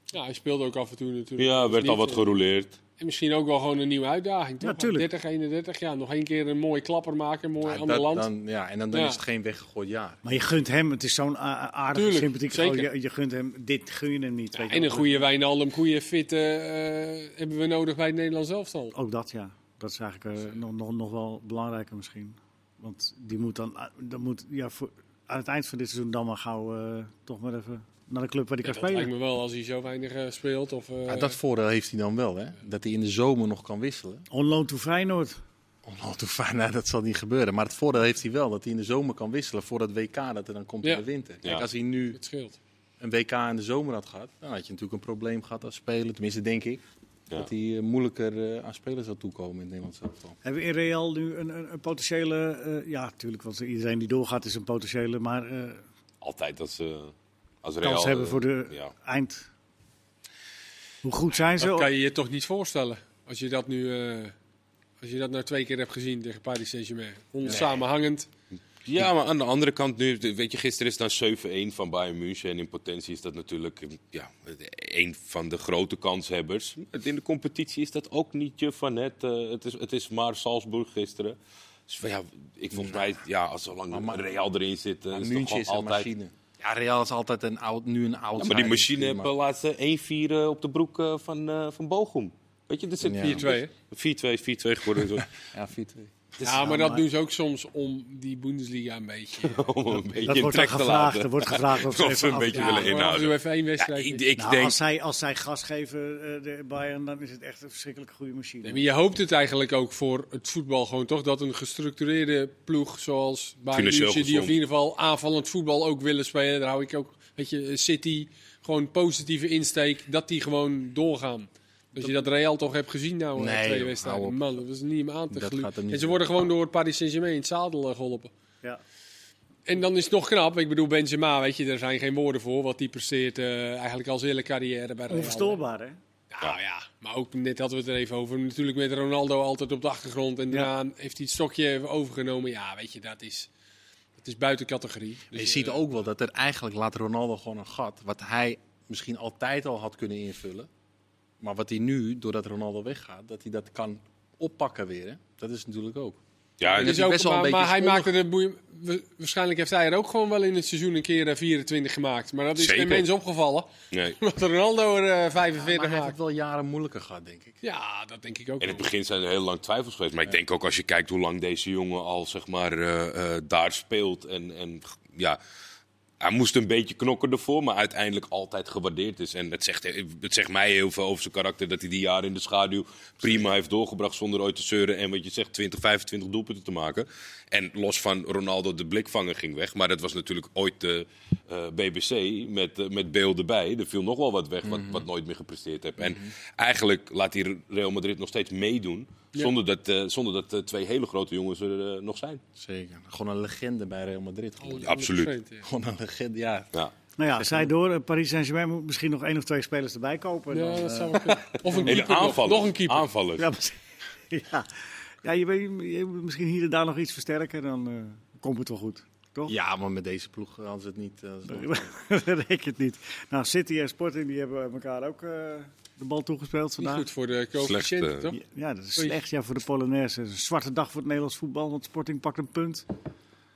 [SPEAKER 2] Ja, hij speelde ook af en toe natuurlijk.
[SPEAKER 4] ja,
[SPEAKER 2] Dat
[SPEAKER 4] werd
[SPEAKER 2] is
[SPEAKER 4] al
[SPEAKER 2] niet,
[SPEAKER 4] wat
[SPEAKER 2] eh,
[SPEAKER 4] gerouleerd.
[SPEAKER 2] En misschien ook wel gewoon een nieuwe uitdaging, toch?
[SPEAKER 1] Ja, tuurlijk.
[SPEAKER 2] 30, 31 jaar. Nog één keer een mooie klapper maken, mooi
[SPEAKER 3] Ja,
[SPEAKER 2] ander
[SPEAKER 3] dat-
[SPEAKER 2] land.
[SPEAKER 3] dan, ja, en dan, dan
[SPEAKER 2] Ja.
[SPEAKER 3] is het geen weggegooid jaar.
[SPEAKER 1] Maar je gunt hem, het is zo'n a- aardige,
[SPEAKER 2] Tuurlijk,
[SPEAKER 1] sympathieke
[SPEAKER 2] zeker.
[SPEAKER 1] gozer. Je, je gunt hem, dit gun je hem niet. weet je
[SPEAKER 2] en
[SPEAKER 1] wel.
[SPEAKER 2] een goede Wijnaldum, goede fit eh, eh, hebben we nodig bij het Nederlands elftal.
[SPEAKER 1] Ook dat, ja. Dat is eigenlijk eh, nog, nog, nog wel belangrijker misschien. Want die moet dan, eh, dan moet, ja, voor, aan het eind van dit seizoen dan maar gauw eh, toch maar even naar de club waar die
[SPEAKER 2] Ja,
[SPEAKER 1] kan
[SPEAKER 2] dat lijkt
[SPEAKER 1] spelen.
[SPEAKER 2] me wel als hij zo weinig eh, speelt. Of, eh,
[SPEAKER 3] Ja, dat voordeel heeft hij dan wel, hè? Dat hij in de zomer nog kan wisselen.
[SPEAKER 1] On loan to Feyenoord.
[SPEAKER 3] Onnodig fijn, nou, dat zal niet gebeuren. Maar het voordeel heeft hij wel, dat hij in de zomer kan wisselen voor dat WK dat er dan komt
[SPEAKER 2] Ja.
[SPEAKER 3] in de winter. Kijk,
[SPEAKER 4] Ja.
[SPEAKER 3] als hij nu
[SPEAKER 2] het scheelt.
[SPEAKER 3] een WK in de zomer had gehad, dan had je natuurlijk een probleem gehad als speler. Tenminste, denk ik,
[SPEAKER 4] Ja.
[SPEAKER 3] dat hij eh, moeilijker eh, aan spelers zou toekomen in het Nederlands elftal.
[SPEAKER 1] Hebben we in Real nu een, een, een potentiële... eh, ja, natuurlijk, want iedereen die doorgaat is een potentiële. Maar eh,
[SPEAKER 4] Altijd als, eh als Real...
[SPEAKER 1] kans hebben
[SPEAKER 4] eh,
[SPEAKER 1] voor de
[SPEAKER 4] ja. Nou,
[SPEAKER 1] eind. Hoe goed zijn ze?
[SPEAKER 2] Dat kan je je toch niet voorstellen. Als je dat nu eh, als je dat nou twee keer hebt gezien tegen Paris Saint-Germain. Onsamenhangend.
[SPEAKER 4] Ja, maar aan de andere kant nu, weet je, gisteren is het dan 7-1 van Bayern München. En in potentie is dat natuurlijk eh, ja, een van de grote kanshebbers. Het- In de competitie is dat ook niet je van het. eh, het, is, het is maar Salzburg gisteren. Dus van, ja, ik volgens mij, ja, als zolang
[SPEAKER 3] maar-
[SPEAKER 4] Real erin zit, eh,
[SPEAKER 3] Maar
[SPEAKER 4] is het
[SPEAKER 3] München
[SPEAKER 4] gewoon
[SPEAKER 3] is een
[SPEAKER 4] altijd...
[SPEAKER 3] machine. Ja, Real is altijd een oud, nu een oud.
[SPEAKER 4] Ja, maar die machine heeft de laatste 1-4 eh, op de broek eh, van, eh van Bochum. Weet je, dat zit
[SPEAKER 3] Ja.
[SPEAKER 2] 4-2, hè?
[SPEAKER 4] 4-2 is 4-2 geworden.
[SPEAKER 3] Ja, 4-2.
[SPEAKER 2] Ja, maar
[SPEAKER 3] eh,
[SPEAKER 2] dat doen ze ook soms om die Bundesliga een beetje.
[SPEAKER 4] om een beetje
[SPEAKER 1] Dat
[SPEAKER 4] in
[SPEAKER 1] wordt dan
[SPEAKER 4] trek te
[SPEAKER 1] gevraagd. Er
[SPEAKER 4] laten.
[SPEAKER 1] wordt gevraagd of ze
[SPEAKER 4] Of ze
[SPEAKER 1] even
[SPEAKER 4] een
[SPEAKER 1] af-
[SPEAKER 4] beetje
[SPEAKER 1] Ja,
[SPEAKER 4] willen
[SPEAKER 2] maar
[SPEAKER 4] inhouden.
[SPEAKER 2] doe even één
[SPEAKER 4] Ja,
[SPEAKER 2] wedstrijd.
[SPEAKER 4] ik ik
[SPEAKER 1] Nou,
[SPEAKER 4] denk...
[SPEAKER 1] als, zij, als zij gas geven, eh, de Bayern, dan is het echt een verschrikkelijk goede machine.
[SPEAKER 2] Nee, maar je hoopt het eigenlijk ook voor het voetbal gewoon toch dat een gestructureerde ploeg zoals Bayern
[SPEAKER 4] Financieel
[SPEAKER 2] München, die
[SPEAKER 4] gezond.
[SPEAKER 2] of in ieder geval aanvallend voetbal ook willen spelen, daar hou ik ook, weet je, City, gewoon positieve insteek, dat die gewoon doorgaan. Als je dat Real toch hebt gezien nou
[SPEAKER 3] Nee,
[SPEAKER 2] in twee
[SPEAKER 3] joh, hou
[SPEAKER 2] wedstrijden,
[SPEAKER 3] op.
[SPEAKER 2] man, dat is niet om aan te
[SPEAKER 3] Dat gaat hem
[SPEAKER 2] gluren.
[SPEAKER 3] niet
[SPEAKER 2] En ze
[SPEAKER 3] doen.
[SPEAKER 2] worden gewoon door Paris Saint-Germain in het zadel eh, geholpen.
[SPEAKER 1] Ja.
[SPEAKER 2] En dan is het nog knap, ik bedoel Benzema, weet je, daar zijn geen woorden voor, wat die presteert eh, eigenlijk al zijn hele carrière bij Real.
[SPEAKER 1] Onverstoorbaar, hè?
[SPEAKER 2] Nou ja, maar ook net hadden we het er even over. Natuurlijk met Ronaldo altijd op de achtergrond. En daarna heeft hij het stokje even overgenomen. Ja, weet je, dat is, dat is buiten categorie. Dus,
[SPEAKER 3] je ziet
[SPEAKER 2] eh,
[SPEAKER 3] ook wel dat er eigenlijk laat Ronaldo gewoon een gat. Wat hij misschien altijd al had kunnen invullen. Maar wat hij nu, doordat Ronaldo weggaat, dat hij dat kan oppakken weer. Hè? Dat is natuurlijk ook.
[SPEAKER 4] Ja,
[SPEAKER 2] het
[SPEAKER 3] dat
[SPEAKER 2] is
[SPEAKER 3] hij
[SPEAKER 2] ook
[SPEAKER 3] best wel
[SPEAKER 2] maar,
[SPEAKER 3] een
[SPEAKER 2] maar
[SPEAKER 3] beetje
[SPEAKER 2] hij
[SPEAKER 3] onder-
[SPEAKER 2] maakte er boeien- wa- Waarschijnlijk heeft hij er ook gewoon wel in het seizoen een keer eh, 24 gemaakt. Maar dat is
[SPEAKER 4] Zeker.
[SPEAKER 2] geen mens opgevallen.
[SPEAKER 4] nee.
[SPEAKER 2] Omdat Ronaldo er eh,
[SPEAKER 3] Maar
[SPEAKER 2] 45
[SPEAKER 3] hij heeft het
[SPEAKER 2] maakt.
[SPEAKER 3] wel jaren moeilijker gehad, denk ik.
[SPEAKER 2] Ja, dat denk ik ook.
[SPEAKER 4] In het
[SPEAKER 2] wel.
[SPEAKER 4] begin zijn er heel lang twijfels geweest. Maar ik denk ook als je kijkt hoe lang deze jongen al zeg maar, eh, eh, daar speelt. En, en ja, hij moest een beetje knokken ervoor, maar uiteindelijk altijd gewaardeerd is. En het zegt, het zegt mij heel veel over zijn karakter dat hij die jaren in de schaduw prima heeft doorgebracht zonder ooit te zeuren. En wat je zegt, 20, 25 doelpunten te maken. En los van Ronaldo, de blikvanger ging weg. Maar dat was natuurlijk ooit de eh, BBC met, eh, met Beel erbij. Er viel nog wel wat weg
[SPEAKER 2] Mhm.
[SPEAKER 4] wat, wat nooit meer gepresteerd heb. En eigenlijk laat hij Real Madrid nog steeds meedoen. Zonder dat, eh, zonder dat eh, twee hele grote jongens er eh, nog zijn.
[SPEAKER 3] Zeker. Gewoon een legende bij Real Madrid.
[SPEAKER 4] Oh,
[SPEAKER 3] geworden.
[SPEAKER 4] absoluut.
[SPEAKER 2] 100%, ja.
[SPEAKER 3] Gewoon een legende, ja.
[SPEAKER 4] Ja.
[SPEAKER 1] Nou ja, zij door. eh, Paris Saint-Germain moet misschien nog één of twee spelers erbij kopen. en dan,
[SPEAKER 2] Ja, dat
[SPEAKER 1] eh,
[SPEAKER 2] zou wel kunnen. Of een
[SPEAKER 4] Hele
[SPEAKER 2] keeper. nog.
[SPEAKER 4] aanvallers.
[SPEAKER 2] Nog een keeper.
[SPEAKER 4] Aanvallers.
[SPEAKER 1] ja, precies. ja. ja je, weet- je moet misschien hier en daar nog iets versterken. Dan eh, komt het wel goed, toch?
[SPEAKER 3] Ja, maar met deze ploeg hadden ze het niet. eh, zo-
[SPEAKER 1] Dat reken het niet. Nou, City en Sporting die hebben elkaar ook eh, de bal toegespeeld
[SPEAKER 2] Niet
[SPEAKER 1] vandaag.
[SPEAKER 2] goed voor de coëfficiënten,
[SPEAKER 4] eh,
[SPEAKER 2] toch?
[SPEAKER 1] Ja, dat is
[SPEAKER 2] Oei.
[SPEAKER 1] slecht ja, voor de Polonaise. Een zwarte dag voor het Nederlands voetbal, want Sporting pakt een punt.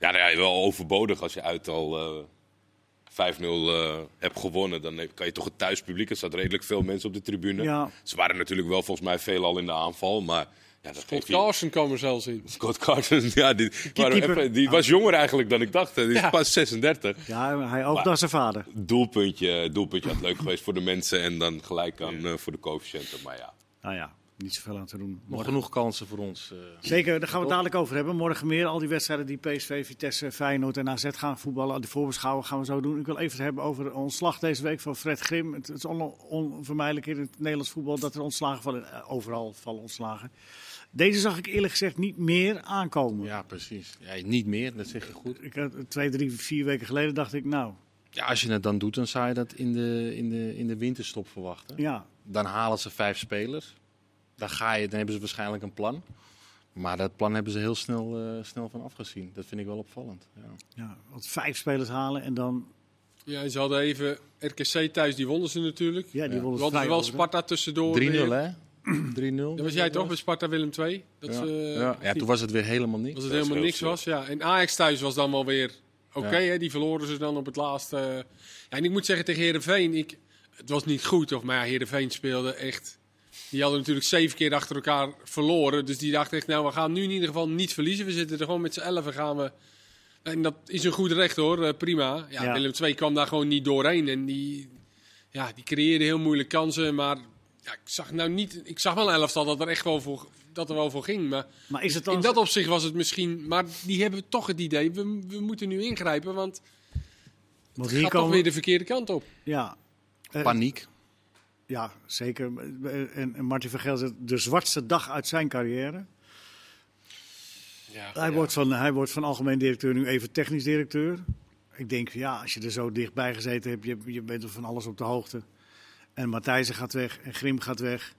[SPEAKER 4] Ja, nou ja, wel overbodig als je uit al eh, 5-0 eh, hebt gewonnen. Dan heb- kan je toch het thuispubliek. Er staat redelijk veel mensen op de tribune.
[SPEAKER 1] Ja.
[SPEAKER 4] Ze waren natuurlijk wel volgens mij veelal in de aanval. Maar ja, dat
[SPEAKER 2] Scott
[SPEAKER 4] geeft je-
[SPEAKER 2] Carson kwam er zelfs in.
[SPEAKER 4] Scott Carson, ja, die, waren
[SPEAKER 1] keeper. Ah.
[SPEAKER 4] even- die was jonger eigenlijk dan ik dacht. hè. Die is
[SPEAKER 2] Ja.
[SPEAKER 4] pas 36.
[SPEAKER 1] Ja, hij ook
[SPEAKER 4] Maar-
[SPEAKER 1] naar zijn vader.
[SPEAKER 4] Doelpuntje, doelpuntje had leuk geweest voor de mensen. En dan gelijk aan eh, voor de coëfficiënten. Maar ja,
[SPEAKER 1] Nou ja, niet zoveel aan te doen.
[SPEAKER 3] Nog
[SPEAKER 1] Morgen.
[SPEAKER 3] genoeg kansen voor ons. eh.
[SPEAKER 1] Zeker, daar gaan we het dadelijk over hebben. Morgen meer. Al die wedstrijden die PSV, Vitesse, Feyenoord en AZ gaan voetballen. De voorbeschouwen gaan we zo doen. Ik wil even het hebben over de ontslag deze week van Fred Grim. Het, het is on- onvermijdelijk in het Nederlands voetbal dat er ontslagen vallen. Eh, Overal vallen ontslagen. Deze zag ik eerlijk gezegd niet meer aankomen.
[SPEAKER 3] ja, precies. Ja, niet meer, dat zeg je goed.
[SPEAKER 1] Ik had, eh, twee, drie, vier weken geleden dacht ik, nou
[SPEAKER 3] Ja, als je het dan doet, dan zou je dat in de, in de, in de winterstop verwachten.
[SPEAKER 1] ja,
[SPEAKER 3] Dan halen ze vijf spelers. Dan, ga je, dan hebben ze waarschijnlijk een plan. Maar dat plan hebben ze heel snel, eh, snel van afgezien. Dat vind ik wel opvallend. Ja.
[SPEAKER 1] ja, want vijf spelers halen en dan.
[SPEAKER 2] Ja, en ze hadden even RKC thuis, die wonnen ze natuurlijk.
[SPEAKER 1] Ja, die
[SPEAKER 3] Ja.
[SPEAKER 1] willen
[SPEAKER 2] We hadden
[SPEAKER 1] vrij
[SPEAKER 2] wel
[SPEAKER 1] worden.
[SPEAKER 2] Sparta tussendoor.
[SPEAKER 3] 3-0,
[SPEAKER 2] weer.
[SPEAKER 3] hè? 3-0.
[SPEAKER 2] Dat was jij toch bij Sparta Willem II? Dat
[SPEAKER 3] Ja.
[SPEAKER 2] ze, eh,
[SPEAKER 3] ja. ja, toen was het weer helemaal niks.
[SPEAKER 2] dat het
[SPEAKER 4] Ja,
[SPEAKER 2] helemaal
[SPEAKER 4] scheelt
[SPEAKER 2] niks
[SPEAKER 4] veel.
[SPEAKER 2] was. Ja. En Ajax thuis was dan wel weer oké.
[SPEAKER 3] Ja.
[SPEAKER 2] hè, die verloren ze dan op het laatste. eh, Ja, en ik moet zeggen tegen Herenveen, ik, het was niet goed. Of, maar ja, Herenveen speelde echt. Die hadden natuurlijk zeven keer achter elkaar verloren. Dus die dachten echt, nou, we gaan nu in ieder geval niet verliezen. We zitten er gewoon met z'n elfen gaan we. En dat is een goed recht hoor, eh, prima. Ja,
[SPEAKER 1] Ja.
[SPEAKER 2] Willem II kwam daar gewoon niet doorheen. En die, ja, die creëerde heel moeilijk kansen. Maar ja, ik zag nou niet. Ik zag wel een elftal dat er echt wel voor, dat er wel voor ging. Maar
[SPEAKER 1] Maar is het dan.
[SPEAKER 2] in dat opzicht was het misschien, maar die hebben toch het idee, we, we moeten nu ingrijpen, want het
[SPEAKER 1] Want
[SPEAKER 2] gaat
[SPEAKER 1] hier
[SPEAKER 2] toch
[SPEAKER 1] komen.
[SPEAKER 2] weer de verkeerde kant op.
[SPEAKER 1] Ja. Eh,
[SPEAKER 3] Paniek.
[SPEAKER 1] Ja, zeker. En, en Martin van Geel zegt, de zwartste dag uit zijn carrière. Hij, wordt van, hij wordt van algemeen directeur nu even technisch directeur. Ik denk, ja, als je er zo dichtbij gezeten hebt, je, je bent er van alles op de hoogte. En Matthijsen gaat weg en Grim gaat weg.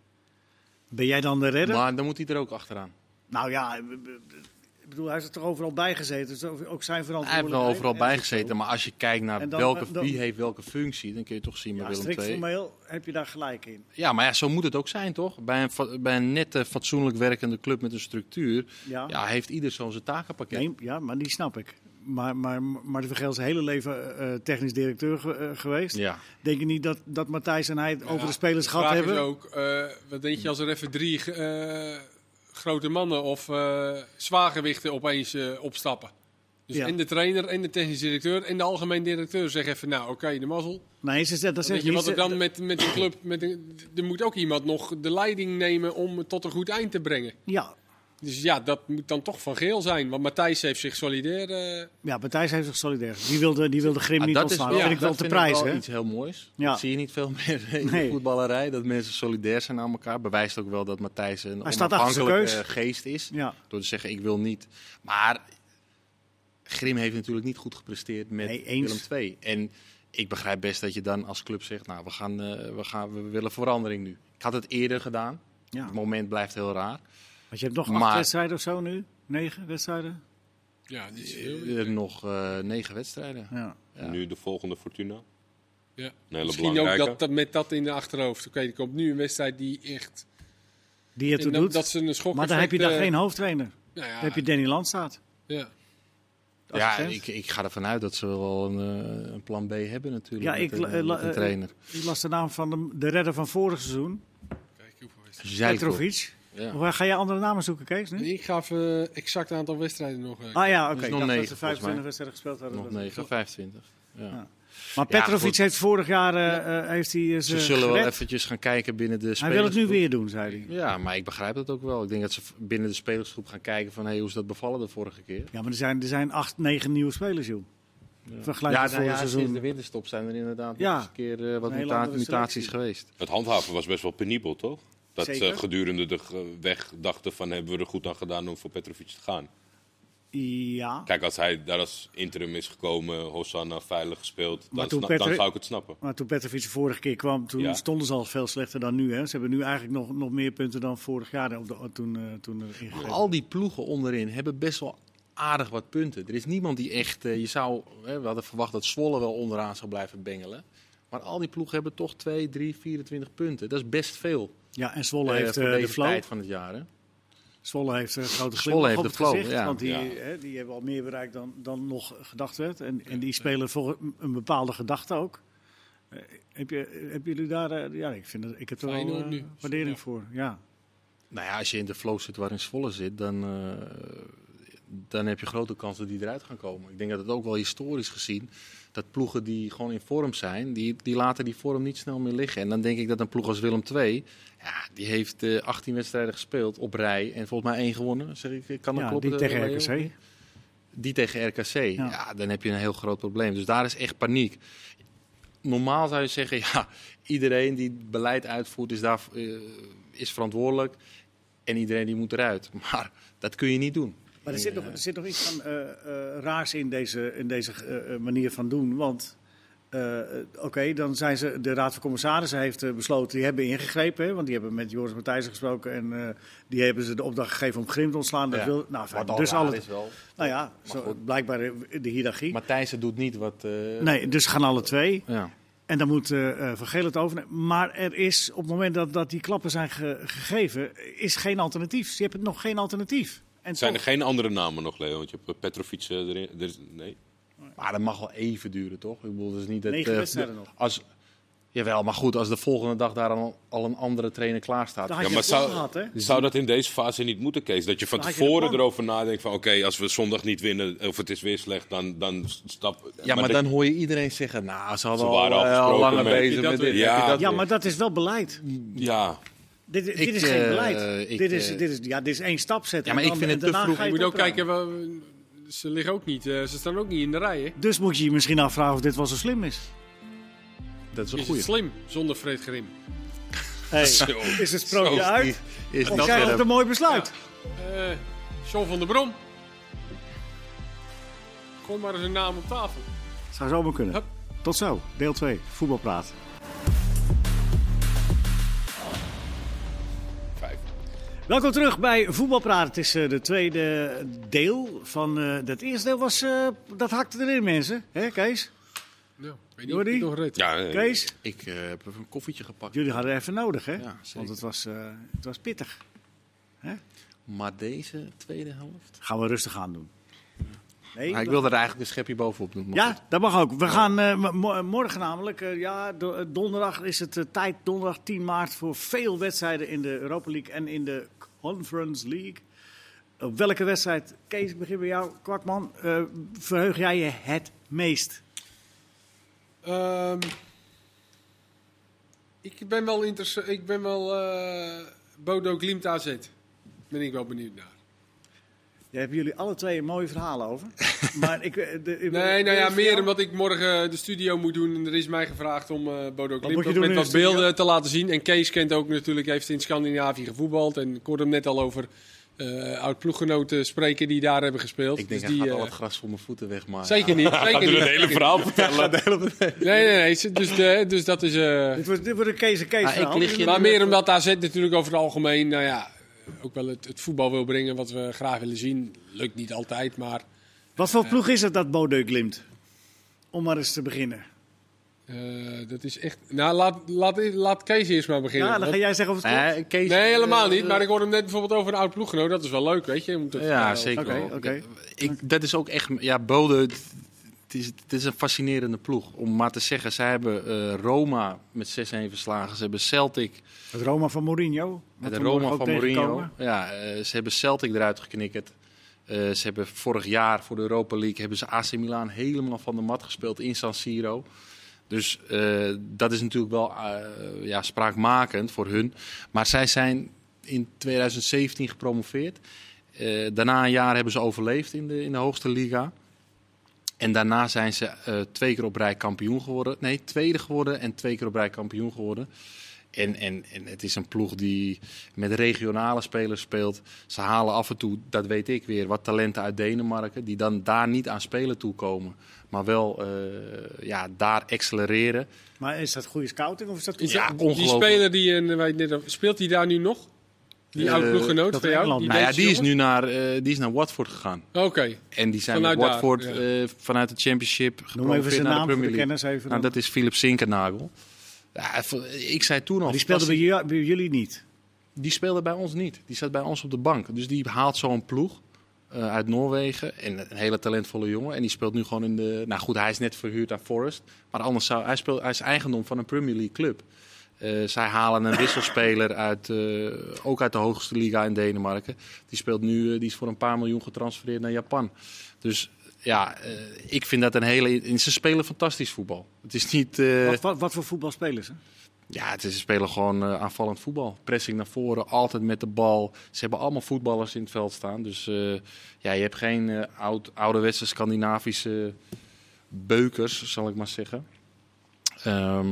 [SPEAKER 1] Ben jij dan de redder?
[SPEAKER 3] Maar dan moet hij er ook achteraan.
[SPEAKER 1] Nou ja, ik bedoel, hij is er toch overal bij gezeten. Dus ook zijn
[SPEAKER 3] Hij heeft
[SPEAKER 1] verantwoordelijkheid.
[SPEAKER 3] wel overal
[SPEAKER 1] En-
[SPEAKER 3] bij gezeten, maar als je kijkt naar
[SPEAKER 1] En dan-
[SPEAKER 3] welke,
[SPEAKER 1] dan-
[SPEAKER 3] wie heeft welke functie, dan kun je toch zien bij
[SPEAKER 1] Ja,
[SPEAKER 3] Willem
[SPEAKER 1] strikt
[SPEAKER 3] II.
[SPEAKER 1] formeel heb je daar gelijk in.
[SPEAKER 3] Ja, maar ja, zo moet het ook zijn, toch? Bij een, fa- bij een nette, fatsoenlijk werkende club met een structuur
[SPEAKER 1] Ja.
[SPEAKER 3] ja, heeft ieder zo'n zijn takenpakket.
[SPEAKER 1] Nee, ja, maar die snap ik. Maar, maar Martin van Geel is zijn hele leven eh, technisch directeur ge- eh, geweest.
[SPEAKER 3] Ja. Ah,
[SPEAKER 1] Denk je niet dat, dat Matthijs en hij het over de spelers
[SPEAKER 2] vraag
[SPEAKER 1] gehad hebben?
[SPEAKER 2] Is ook, eh, wat denk je als er even drie eh, grote mannen of eh, zwaargewichten opeens eh, opstappen? Dus
[SPEAKER 1] Ja.
[SPEAKER 2] en de trainer, en de technisch directeur, en de algemeen directeur zeggen even, nou oké, de mazzel.
[SPEAKER 1] Nee, ze zegt, dat
[SPEAKER 2] Weet
[SPEAKER 1] zegt
[SPEAKER 2] je
[SPEAKER 1] niet.
[SPEAKER 2] wat er
[SPEAKER 1] Ze-
[SPEAKER 2] dan met, met de club, met een- er moet ook iemand nog de leiding nemen om het tot een goed eind te brengen.
[SPEAKER 1] Ja,
[SPEAKER 2] Dus ja, dat moet dan toch van geel zijn, want Matthijs heeft zich solidair... eh,
[SPEAKER 1] ja, Matthijs heeft zich solidair. Die wilde, die wilde Grim
[SPEAKER 3] Ah,
[SPEAKER 1] niet
[SPEAKER 3] dat is
[SPEAKER 1] ontslaan.
[SPEAKER 3] ja,
[SPEAKER 1] dat vind ik wel
[SPEAKER 3] dat
[SPEAKER 1] te
[SPEAKER 3] vind ik
[SPEAKER 1] prijzen. hè?
[SPEAKER 3] iets heel moois.
[SPEAKER 1] Ja.
[SPEAKER 3] Dat zie je niet veel meer in
[SPEAKER 1] Nee.
[SPEAKER 3] de voetballerij. Dat mensen solidair zijn aan elkaar. Bewijst ook wel dat Matthijs een
[SPEAKER 1] Hij staat achter zijn
[SPEAKER 3] onafhankelijke
[SPEAKER 1] keus.
[SPEAKER 3] eh, geest is.
[SPEAKER 1] Ja.
[SPEAKER 3] Door te zeggen, ik wil niet. Maar Grim heeft natuurlijk niet goed gepresteerd met
[SPEAKER 1] Nee, eens.
[SPEAKER 3] Willem II. En ik begrijp best dat je dan als club zegt, nou, we, gaan, eh, we, gaan, we willen verandering nu. Ik had het eerder gedaan.
[SPEAKER 1] Ja.
[SPEAKER 3] Het moment blijft heel raar.
[SPEAKER 1] Want je hebt nog acht
[SPEAKER 3] Maar-
[SPEAKER 1] wedstrijden of zo nu? Negen wedstrijden?
[SPEAKER 2] ja, niet zoveel.
[SPEAKER 3] Eh, eh, nog eh, negen wedstrijden.
[SPEAKER 1] Ja.
[SPEAKER 3] Ja.
[SPEAKER 4] nu de volgende Fortuna.
[SPEAKER 2] Ja.
[SPEAKER 4] Een hele
[SPEAKER 2] Misschien ook
[SPEAKER 4] belangrijke.
[SPEAKER 2] dat, dat met dat in de achterhoofd. Oké, er komt nu een wedstrijd die echt.
[SPEAKER 1] Die je
[SPEAKER 2] en
[SPEAKER 1] toen
[SPEAKER 2] dat,
[SPEAKER 1] doet.
[SPEAKER 2] dat ze een schok.
[SPEAKER 1] maar dan heb je daar geen hoofdtrainer.
[SPEAKER 2] Nou ja,
[SPEAKER 1] Dan heb je Danny Landstaat.
[SPEAKER 2] ja.
[SPEAKER 1] de
[SPEAKER 3] Ja,
[SPEAKER 1] assistent.
[SPEAKER 3] ik, ik ga ervan uit dat ze wel een, eh, een plan B hebben natuurlijk.
[SPEAKER 1] Ja,
[SPEAKER 3] met
[SPEAKER 1] ik
[SPEAKER 3] een-
[SPEAKER 1] la- eh, la-
[SPEAKER 3] met een
[SPEAKER 1] eh,
[SPEAKER 3] trainer.
[SPEAKER 1] Ik las de naam van de, de redder van vorig seizoen,
[SPEAKER 2] Kijk,
[SPEAKER 3] Zijkop.
[SPEAKER 1] Petrovic.
[SPEAKER 3] Ja.
[SPEAKER 1] Waar ga je andere namen zoeken, Kees? Nu?
[SPEAKER 2] ik gaf eh exact aantal wedstrijden nog. eh.
[SPEAKER 1] Hm? Ah ja, oké.
[SPEAKER 3] Dus
[SPEAKER 1] Ik
[SPEAKER 3] nog
[SPEAKER 1] dacht dat ze
[SPEAKER 3] negen, volgens
[SPEAKER 1] 25
[SPEAKER 3] mij.
[SPEAKER 1] wedstrijden gespeeld hadden.
[SPEAKER 3] Nog
[SPEAKER 1] Dat-
[SPEAKER 3] 9, 25. Ja.
[SPEAKER 1] Ja. Maar Petrovic
[SPEAKER 3] goed.
[SPEAKER 1] heeft vorig jaar eh, eh, heeft hij eh,
[SPEAKER 3] Ze
[SPEAKER 1] ze
[SPEAKER 3] zullen wel
[SPEAKER 1] gered.
[SPEAKER 3] eventjes gaan kijken binnen de
[SPEAKER 1] Hij wil het nu
[SPEAKER 3] spelersgroep.
[SPEAKER 1] weer doen, zei hij.
[SPEAKER 3] Ja, maar ik begrijp dat ook wel. Ik denk dat ze v- binnen de spelersgroep gaan kijken van hey, hoe is dat bevallen de vorige keer.
[SPEAKER 1] Ja, maar er zijn, er zijn acht, negen nieuwe spelers, joh. Vergelijk
[SPEAKER 3] ja,
[SPEAKER 1] het vorig
[SPEAKER 3] sinds de
[SPEAKER 1] seizoen.
[SPEAKER 3] winterstop zijn er inderdaad
[SPEAKER 1] Ja.
[SPEAKER 3] nog eens een keer eh, wat
[SPEAKER 1] Een hele
[SPEAKER 3] muta-
[SPEAKER 1] andere
[SPEAKER 3] mutaties
[SPEAKER 1] selectie.
[SPEAKER 3] geweest.
[SPEAKER 4] Het handhaven was best wel penibel, toch? Dat ze
[SPEAKER 1] Zeker.
[SPEAKER 4] gedurende de ge- weg dachten van hebben we er goed aan gedaan om voor Petrovic te gaan.
[SPEAKER 1] Ja,
[SPEAKER 4] Kijk, als hij daar als interim is gekomen, Hosanna veilig gespeeld,
[SPEAKER 1] Maar
[SPEAKER 4] dan,
[SPEAKER 1] toen
[SPEAKER 4] sna-
[SPEAKER 1] Petri-
[SPEAKER 4] dan zou ik het snappen.
[SPEAKER 1] maar toen Petrovic de vorige keer kwam, toen
[SPEAKER 4] Ja.
[SPEAKER 1] stonden ze al veel slechter dan nu. Hè. Ze hebben nu eigenlijk nog, nog meer punten dan vorig jaar op de, toen, eh toen er ingegrepen
[SPEAKER 3] Al die ploegen onderin hebben best wel aardig wat punten. Er is niemand die echt. eh, je zou, hè, we hadden verwacht dat Zwolle wel onderaan zou blijven bengelen. Maar al die ploegen hebben toch 2, 3, 24 punten. Dat is best veel.
[SPEAKER 1] Ja, en Zwolle
[SPEAKER 3] eh,
[SPEAKER 1] heeft
[SPEAKER 3] voor
[SPEAKER 1] eh, de
[SPEAKER 3] deze
[SPEAKER 1] flow.
[SPEAKER 3] tijd van het jaar. Hè?
[SPEAKER 1] Zwolle heeft een grote
[SPEAKER 3] Zwolle
[SPEAKER 1] glimlach
[SPEAKER 3] heeft
[SPEAKER 1] op
[SPEAKER 3] de
[SPEAKER 1] het
[SPEAKER 3] flow,
[SPEAKER 1] gezicht.
[SPEAKER 3] ja.
[SPEAKER 1] Want die,
[SPEAKER 4] Ja.
[SPEAKER 1] hè, die hebben al meer bereikt dan, dan nog gedacht werd. En, en die spelen voor een bepaalde gedachte ook. Eh, heb je, hebben jullie daar... eh, ja, ik, vind dat, ik heb er wel
[SPEAKER 2] Feyenoord
[SPEAKER 1] eh,
[SPEAKER 2] nu.
[SPEAKER 1] waardering
[SPEAKER 2] Ja.
[SPEAKER 1] voor. Ja.
[SPEAKER 3] Nou ja, als je in de flow zit waarin Zwolle zit, dan, eh, dan heb je grote kans dat die eruit gaan komen. Ik denk dat het ook wel historisch gezien, dat ploegen die gewoon in vorm zijn, die, die laten die vorm niet snel meer liggen. En dan denk ik dat een ploeg als Willem II, ja, die heeft eh, 18 wedstrijden gespeeld op rij en volgens mij één gewonnen. Zeg ik, kan dat
[SPEAKER 1] Ja,
[SPEAKER 3] kloppen?
[SPEAKER 1] die
[SPEAKER 3] eh,
[SPEAKER 1] tegen
[SPEAKER 3] Leo?
[SPEAKER 1] RKC.
[SPEAKER 3] Die tegen RKC, ja. dan heb je een heel groot probleem. Dus daar is echt paniek. Normaal zou je zeggen, ja, iedereen die beleid uitvoert is, daar, eh, is verantwoordelijk en iedereen die moet eruit. Maar dat kun je niet doen.
[SPEAKER 1] Maar er zit nog, er zit nog iets van eh, eh, raars in deze, in deze eh, eh, manier van doen. Want eh, eh, oké, dan zijn ze. De Raad van Commissarissen heeft eh, besloten. Die hebben ingegrepen. Hè, want die hebben met Joris Matthijssen gesproken. En eh, die hebben ze de opdracht gegeven om Grim te ontslaan. Dat
[SPEAKER 3] Ja.
[SPEAKER 1] wil, nou, fijn,
[SPEAKER 3] Wat al
[SPEAKER 1] dus
[SPEAKER 3] raar
[SPEAKER 1] alle,
[SPEAKER 3] is wel.
[SPEAKER 1] nou ja, zo,
[SPEAKER 3] goed.
[SPEAKER 1] blijkbaar eh, de, de hiërarchie.
[SPEAKER 3] Matthijsen doet niet wat... eh,
[SPEAKER 1] nee, dus gaan alle twee.
[SPEAKER 3] ja.
[SPEAKER 1] En dan moet eh eh, Van Geel het overnemen. Maar er is, op het moment dat, dat die klappen zijn ge- gegeven, is geen alternatief. Je hebt nog geen alternatief. En
[SPEAKER 4] Zijn er
[SPEAKER 1] toch-
[SPEAKER 4] geen andere namen nog, Leo? Want je hebt Petrovic eh, erin. er is- nee.
[SPEAKER 3] Maar dat mag wel even duren, toch? Ik bedoel, dus niet dat...
[SPEAKER 1] Negen
[SPEAKER 3] eh,
[SPEAKER 1] wedstrijden nog.
[SPEAKER 3] Als, jawel, maar goed, als de volgende dag daar al, al een andere trainer klaar staat.
[SPEAKER 1] Dan had
[SPEAKER 4] Ja,
[SPEAKER 1] je
[SPEAKER 4] maar
[SPEAKER 1] het wel
[SPEAKER 4] zou,
[SPEAKER 1] gehad, hè?
[SPEAKER 4] zou dat in deze fase niet moeten, Kees? Dat je van
[SPEAKER 1] Dan had je een
[SPEAKER 4] tevoren
[SPEAKER 1] plan.
[SPEAKER 4] erover nadenkt van... oké, als we zondag niet winnen of het is weer slecht, dan, dan stap...
[SPEAKER 3] Ja, maar,
[SPEAKER 4] dat-
[SPEAKER 3] dan hoor je iedereen zeggen, nou, ze hadden
[SPEAKER 4] Ze
[SPEAKER 3] al,
[SPEAKER 4] waren al
[SPEAKER 3] eh, al
[SPEAKER 4] gesproken
[SPEAKER 3] langer
[SPEAKER 4] met-
[SPEAKER 3] bezig
[SPEAKER 2] Heb je
[SPEAKER 3] met
[SPEAKER 2] dat
[SPEAKER 3] dit.
[SPEAKER 4] weer?
[SPEAKER 3] Heb je
[SPEAKER 4] Ja.
[SPEAKER 3] dat
[SPEAKER 1] Ja,
[SPEAKER 3] weer?
[SPEAKER 1] maar dat is wel beleid.
[SPEAKER 4] Ja,
[SPEAKER 1] Dit, dit
[SPEAKER 3] Ik,
[SPEAKER 1] is geen
[SPEAKER 3] eh,
[SPEAKER 1] beleid.
[SPEAKER 3] ik,
[SPEAKER 1] dit, is,
[SPEAKER 3] eh,
[SPEAKER 1] dit, is, ja, dit is één stap zetten.
[SPEAKER 3] Ja,
[SPEAKER 1] en
[SPEAKER 3] maar ik
[SPEAKER 1] dan-
[SPEAKER 3] vind het te
[SPEAKER 1] daarna
[SPEAKER 3] vroeg.
[SPEAKER 1] ga
[SPEAKER 2] Je
[SPEAKER 1] het
[SPEAKER 2] moet ook
[SPEAKER 1] opruimen.
[SPEAKER 2] kijken, waar- ze liggen ook niet, eh, ze staan ook niet in de rij. Hè?
[SPEAKER 1] Dus moet je je misschien afvragen of dit wel zo slim is.
[SPEAKER 3] Dat is een
[SPEAKER 2] Is het
[SPEAKER 3] goeie.
[SPEAKER 2] slim zonder Fred Grim?
[SPEAKER 1] Hey,
[SPEAKER 4] Zo.
[SPEAKER 1] is het sprookje
[SPEAKER 4] Zo.
[SPEAKER 1] uit?
[SPEAKER 3] Oh, Is
[SPEAKER 1] Of krijgen we
[SPEAKER 3] dat weer
[SPEAKER 1] het een
[SPEAKER 3] een-
[SPEAKER 1] mooi besluit?
[SPEAKER 2] Eh John van der Brom. Gooi maar eens een naam op tafel.
[SPEAKER 1] Zou zomaar kunnen.
[SPEAKER 2] Hup.
[SPEAKER 1] Tot zo, deel 2, voetbalpraat.
[SPEAKER 4] vijf.
[SPEAKER 1] Welkom terug bij Voetbalpraat. Het is eh, de tweede deel van eh dat eerste deel. Was, eh, dat hakte erin, mensen. Hè, Kees?
[SPEAKER 2] Nou, weet niet of
[SPEAKER 1] Jordi?
[SPEAKER 2] ik het nog red.
[SPEAKER 4] Ja, eh,
[SPEAKER 1] Kees?
[SPEAKER 3] Ik eh, heb even een koffietje gepakt.
[SPEAKER 1] Jullie hadden even nodig, hè?
[SPEAKER 3] Ja, zeker.
[SPEAKER 1] Want het was, eh, het was pittig.
[SPEAKER 3] Maar deze tweede helft?
[SPEAKER 1] Gaan we rustig aan doen. Nee,
[SPEAKER 3] Maar ik
[SPEAKER 1] dat-
[SPEAKER 3] wilde er eigenlijk een schepje bovenop doen. maar goed.
[SPEAKER 1] Ja, dat mag ook. We gaan eh, m- mo- morgen namelijk, eh, ja, do- eh, donderdag is het eh, tijd, donderdag 10 maart, voor veel wedstrijden in de Europa League en in de Conference League. Op welke wedstrijd, Kees, ik begin bij jou, Kwakman, eh, verheug jij je het meest?
[SPEAKER 2] Ehm, ik ben wel, interesse- ik ben wel eh, Bodo Glimt AZ. Ben ik wel benieuwd naar.
[SPEAKER 1] Daar hebben jullie alle twee een mooi verhaal over. maar ik, eh, de, ik-
[SPEAKER 2] Nee, nou ja,
[SPEAKER 1] eerst
[SPEAKER 2] meer
[SPEAKER 1] jou.
[SPEAKER 2] omdat ik morgen eh, de studio moet doen. En er is mij gevraagd om eh, Bodo
[SPEAKER 1] moet
[SPEAKER 2] Glimt
[SPEAKER 1] je
[SPEAKER 2] ook
[SPEAKER 1] doen
[SPEAKER 2] met
[SPEAKER 1] in
[SPEAKER 2] wat
[SPEAKER 1] de studio?
[SPEAKER 2] beelden te laten zien. En Kees kent ook natuurlijk, heeft in Scandinavië gevoetbald. En ik hoorde hem net al over eh oud-ploeggenoten spreken die daar hebben gespeeld.
[SPEAKER 3] Ik denk,
[SPEAKER 2] Dus
[SPEAKER 3] hij gaat
[SPEAKER 2] die,
[SPEAKER 3] al
[SPEAKER 2] eh,
[SPEAKER 3] het gras voor mijn voeten weg, maar...
[SPEAKER 2] Zeker niet, zeker
[SPEAKER 4] Gaat u
[SPEAKER 2] niet.
[SPEAKER 4] het hele verhaal vertellen?
[SPEAKER 2] Nee, nee, nee. Dus, de, dus dat is... eh,
[SPEAKER 1] Dit wordt, dit wordt een Kees en Kees
[SPEAKER 3] Ah, ik
[SPEAKER 1] verhaal.
[SPEAKER 3] lig je-
[SPEAKER 2] maar meer omdat AZ natuurlijk over het algemeen, nou ja, ook wel het, het voetbal wil brengen wat we graag willen zien. Lukt niet altijd, maar
[SPEAKER 1] Wat voor ploeg is het dat Bodeu glimt? Om maar eens te beginnen.
[SPEAKER 2] eh, dat is echt... Nou, laat, laat, laat Kees eerst maar beginnen.
[SPEAKER 1] Ja, dan ga
[SPEAKER 2] Want-
[SPEAKER 1] jij zeggen of het klopt.
[SPEAKER 3] Eh, Kees-
[SPEAKER 2] Nee, helemaal
[SPEAKER 3] eh,
[SPEAKER 2] niet. Maar ik hoorde hem net bijvoorbeeld over een oud ploeggenoot. Dat is wel leuk, weet je. Je moet dat-
[SPEAKER 3] Ja,
[SPEAKER 2] eh,
[SPEAKER 3] zeker
[SPEAKER 1] Oké,
[SPEAKER 3] wel.
[SPEAKER 1] oké.
[SPEAKER 3] Ik, dat is ook echt... Ja, Bode, het het is, het is een fascinerende ploeg. Om maar te zeggen, zij hebben eh, Roma met 6-1 verslagen. Ze hebben Celtic
[SPEAKER 1] Het Roma van Mourinho. wat
[SPEAKER 3] De
[SPEAKER 1] we morgen
[SPEAKER 3] Roma
[SPEAKER 1] ook
[SPEAKER 3] van Mourinho.
[SPEAKER 1] tegenkomen.
[SPEAKER 3] Ja, eh, ze hebben Celtic eruit geknikkerd. Eh, ze hebben vorig jaar voor de Europa League hebben ze AC Milan helemaal van de mat gespeeld in San Siro. Dus eh, dat is natuurlijk wel eh, ja, spraakmakend voor hun. Maar zij zijn in 2017 gepromoveerd. Eh, daarna een jaar hebben ze overleefd in de, in de hoogste liga. En daarna zijn ze eh, twee keer op rij kampioen geworden. Nee, tweede geworden en twee keer op rij kampioen geworden. En, en, en het is een ploeg die met regionale spelers speelt. Ze halen af en toe, dat weet ik weer, wat talenten uit Denemarken. Die dan daar niet aan spelen toekomen. Maar wel eh, ja, daar accelereren.
[SPEAKER 1] Maar is dat goede scouting of is dat...
[SPEAKER 2] Is
[SPEAKER 3] Ja,
[SPEAKER 2] dat- die
[SPEAKER 3] ongelooflijk.
[SPEAKER 2] speler die eh, waar je het net over- speelt hij daar nu nog? Die oude
[SPEAKER 3] eh,
[SPEAKER 2] ploeggenoot
[SPEAKER 1] dat
[SPEAKER 2] van jou?
[SPEAKER 1] Engeland.
[SPEAKER 3] Nou ja,
[SPEAKER 2] Duitse
[SPEAKER 3] die is
[SPEAKER 2] jongen?
[SPEAKER 3] nu naar, eh, die is naar Watford gegaan.
[SPEAKER 2] Oké.
[SPEAKER 3] En die zijn
[SPEAKER 2] Vanuit
[SPEAKER 3] met
[SPEAKER 2] daar,
[SPEAKER 3] Watford
[SPEAKER 2] ja.
[SPEAKER 3] eh, vanuit de Championship
[SPEAKER 1] Noem even
[SPEAKER 3] gepromoveerd
[SPEAKER 1] zijn
[SPEAKER 3] naar de
[SPEAKER 1] naam voor de
[SPEAKER 3] Premier League.
[SPEAKER 1] kennis even.
[SPEAKER 3] Nou,
[SPEAKER 1] dan.
[SPEAKER 3] dat is Philip Sinkernagel. Ja, ik zei toen al...
[SPEAKER 1] die speelde bij,
[SPEAKER 3] fantastisch-
[SPEAKER 1] jou- bij jullie niet.
[SPEAKER 3] Die speelde bij ons niet. Die zat bij ons op de bank. Dus die haalt zo'n ploeg eh, uit Noorwegen. En een hele talentvolle jongen. En die speelt nu gewoon in de. Nou goed, hij is net verhuurd aan Forest. Maar anders zou hij, speelt, hij is eigendom van een Premier League club. Eh, zij halen een wisselspeler uit, eh, ook uit de hoogste liga in Denemarken. Die speelt nu, eh, die is voor een paar miljoen getransfereerd naar Japan. Dus ja, eh, ik vind dat een hele. en Ze spelen fantastisch voetbal. Het is niet. eh,
[SPEAKER 1] wat, wat, wat voor voetbalspelers? Hè?
[SPEAKER 3] ja, het is, ze spelen gewoon eh, aanvallend voetbal. Pressing naar voren, altijd met de bal. Ze hebben allemaal voetballers in het veld staan. Dus eh, ja, je hebt geen eh, oud, ouderwetse Scandinavische beukers, zal ik maar zeggen. Ehm,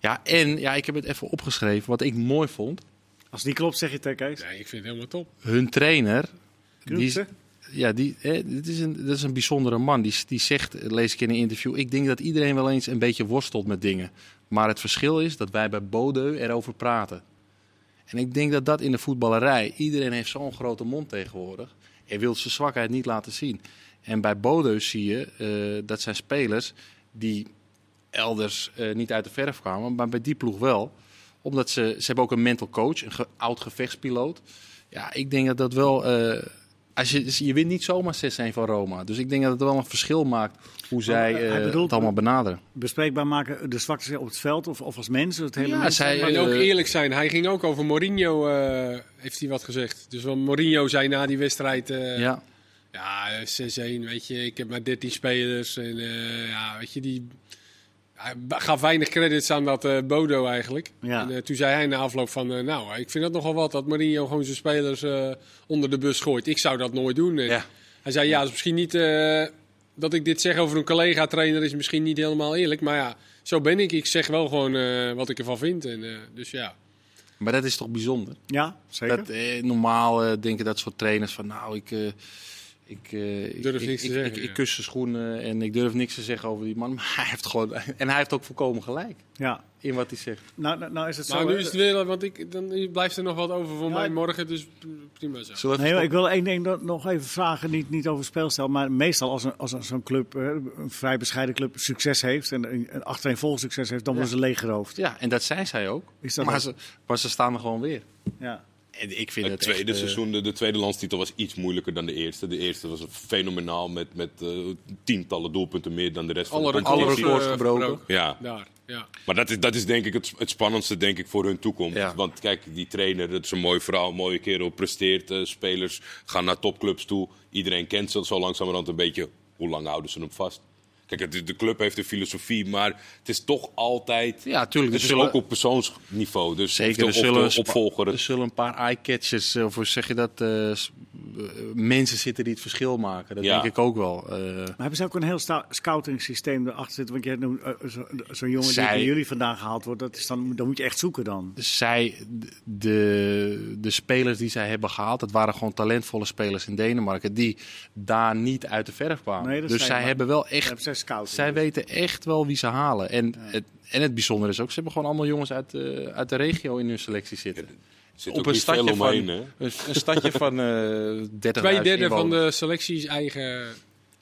[SPEAKER 3] ja, en ja, ik heb het even opgeschreven. Wat ik mooi vond,
[SPEAKER 1] Als die klopt, zeg je tegen Kees.
[SPEAKER 2] Nee, ik vind het helemaal top.
[SPEAKER 3] hun trainer...
[SPEAKER 1] Klopt,
[SPEAKER 3] die is-
[SPEAKER 1] hè?
[SPEAKER 3] ja, die, hè, dit is een, dat is een bijzondere man. Die, die zegt, eh, lees ik in een interview, ik denk dat iedereen wel eens een beetje worstelt met dingen. Maar het verschil is dat wij bij Bodeu erover praten. En ik denk dat dat in de voetballerij, iedereen heeft zo'n grote mond tegenwoordig. En wil zijn zwakheid niet laten zien. En bij Bodeu zie je, eh, dat zijn spelers die elders eh, niet uit de verf kwamen, maar bij die ploeg wel. Omdat ze, ze hebben ook een mental coach, een ge- oud gevechtspiloot. Ja, ik denk dat dat wel... eh, als je, je wint niet zomaar 6-1 van Roma. Dus ik denk dat het wel een verschil maakt hoe zij
[SPEAKER 1] hij
[SPEAKER 3] eh,
[SPEAKER 1] bedoelt-
[SPEAKER 3] het allemaal benaderen.
[SPEAKER 1] Bespreekbaar maken eh, de zwaktes op het veld of, of als mensen. Het hele
[SPEAKER 3] Ja,
[SPEAKER 1] mens.
[SPEAKER 3] zij-
[SPEAKER 2] En
[SPEAKER 3] eh,
[SPEAKER 2] ook eerlijk zijn, hij ging ook over Mourinho, eh, heeft hij wat gezegd. Dus wat Mourinho zei na die wedstrijd, eh, ja,
[SPEAKER 3] ja.
[SPEAKER 2] 6-1, weet je, ik heb maar 13 spelers. En eh, ja, weet je, die... Hij ba- gaf weinig credits aan dat eh, Bodo eigenlijk.
[SPEAKER 1] Ja.
[SPEAKER 2] En eh, toen zei hij na afloop van, eh, nou, ik vind dat nogal wat dat Mourinho gewoon zijn spelers eh, onder de bus gooit. Ik zou dat nooit doen. En
[SPEAKER 3] Ja.
[SPEAKER 2] Hij zei, ja, dat is misschien niet... eh, dat ik dit zeg over een collega-trainer is misschien niet helemaal eerlijk. Maar ja, zo ben ik. Ik zeg wel gewoon eh, wat ik ervan vind. En, eh, dus ja.
[SPEAKER 3] Maar dat is toch bijzonder?
[SPEAKER 1] ja, zeker.
[SPEAKER 3] Dat, eh, normaal eh, denken dat soort trainers van, nou, ik, eh, ik, eh, ik,
[SPEAKER 2] Durf
[SPEAKER 3] ik-
[SPEAKER 2] niks te
[SPEAKER 3] ik-
[SPEAKER 2] zeggen,
[SPEAKER 3] ik-
[SPEAKER 2] ja.
[SPEAKER 3] ik kus zijn schoenen en ik durf niks te zeggen over die man. Maar hij heeft gewoon, en hij heeft ook volkomen gelijk
[SPEAKER 1] ja.
[SPEAKER 3] in wat hij zegt.
[SPEAKER 1] Nou, nou, nou is het
[SPEAKER 2] Maar
[SPEAKER 1] zo.
[SPEAKER 2] nu
[SPEAKER 1] hè?
[SPEAKER 2] is het weer... eh, Want ik, dan blijft er nog wat over voor
[SPEAKER 1] Ja,
[SPEAKER 2] mij
[SPEAKER 1] ik-
[SPEAKER 2] morgen. Dus prima zo.
[SPEAKER 3] Zullen we
[SPEAKER 1] Nee,
[SPEAKER 3] even
[SPEAKER 1] maar ik wil één ding no- nog even vragen, niet, niet over speelstijl, maar meestal als, een, als een- zo'n club, eh, een vrij bescheiden club, succes heeft en een- een achtereenvolgens succes heeft, dan worden ze leeggeroofd.
[SPEAKER 3] stoppen? Ja, en dat zei zij ook.
[SPEAKER 1] Is dat
[SPEAKER 3] maar,
[SPEAKER 1] ook?
[SPEAKER 3] ze, maar ze staan er gewoon weer.
[SPEAKER 1] Ja.
[SPEAKER 3] En ik vind
[SPEAKER 4] Het
[SPEAKER 3] het
[SPEAKER 4] tweede
[SPEAKER 3] echt, eh,
[SPEAKER 4] seizoen, de, de tweede landstitel was iets moeilijker dan de eerste. De eerste was fenomenaal met, met eh, tientallen doelpunten meer dan de rest
[SPEAKER 2] Alle
[SPEAKER 4] van de
[SPEAKER 2] records,
[SPEAKER 3] alle
[SPEAKER 4] competitie.
[SPEAKER 3] records
[SPEAKER 2] eh,
[SPEAKER 3] gebroken.
[SPEAKER 4] Ja,
[SPEAKER 2] Daar, ja.
[SPEAKER 4] maar dat is, dat is denk ik het, het spannendste denk ik, voor hun toekomst.
[SPEAKER 3] Ja.
[SPEAKER 4] Want kijk, die trainer, dat is een mooi verhaal, een mooie kerel, presteert. eh, spelers gaan naar topclubs toe. Iedereen kent ze zo langzamerhand een beetje. Hoe lang houden ze hem vast? Kijk, het is- de club heeft een filosofie, maar het is toch altijd...
[SPEAKER 3] Ja, tuurlijk,
[SPEAKER 4] Het
[SPEAKER 3] er
[SPEAKER 4] is
[SPEAKER 3] zullen-
[SPEAKER 4] ook op persoonsniveau. Dus
[SPEAKER 3] Zeker,
[SPEAKER 4] of
[SPEAKER 3] er
[SPEAKER 4] de,
[SPEAKER 3] zullen, dus
[SPEAKER 4] of de opvolger
[SPEAKER 3] er
[SPEAKER 4] het
[SPEAKER 3] zullen een paar eye-catchers, eh, of hoe zeg je dat, eh, s- eh, mensen zitten die het verschil maken. Dat
[SPEAKER 4] Ja.
[SPEAKER 3] denk ik ook wel. eh.
[SPEAKER 1] Maar hebben ze ook een heel sta- scouting systeem erachter zitten? Want jij noemt eh, zo- zo'n jongen
[SPEAKER 3] Zij-
[SPEAKER 1] die bij jullie vandaan gehaald wordt, dat is dan, dan moet je echt zoeken dan.
[SPEAKER 3] zij, de, de spelers die zij hebben gehaald, dat waren gewoon talentvolle spelers in Denemarken. Die daar niet uit de verf kwamen.
[SPEAKER 1] Nee, dat
[SPEAKER 3] dus
[SPEAKER 1] zei
[SPEAKER 3] zij
[SPEAKER 1] ik, maar
[SPEAKER 3] hebben wel
[SPEAKER 1] Echt?
[SPEAKER 3] echt.
[SPEAKER 1] Zij scouting.
[SPEAKER 3] Zij weten echt wel wie ze halen. En, het, en het bijzondere is ook, ze hebben gewoon allemaal jongens uit, eh, uit de regio in hun selectie zitten.
[SPEAKER 4] zit
[SPEAKER 3] Op
[SPEAKER 4] ook
[SPEAKER 3] een
[SPEAKER 4] niet veel
[SPEAKER 3] stadje, van,
[SPEAKER 4] omheen. hè?
[SPEAKER 3] een, een stadje van eh 30.000
[SPEAKER 2] Twee derde van
[SPEAKER 3] inwoners.
[SPEAKER 2] de selectie is eigen...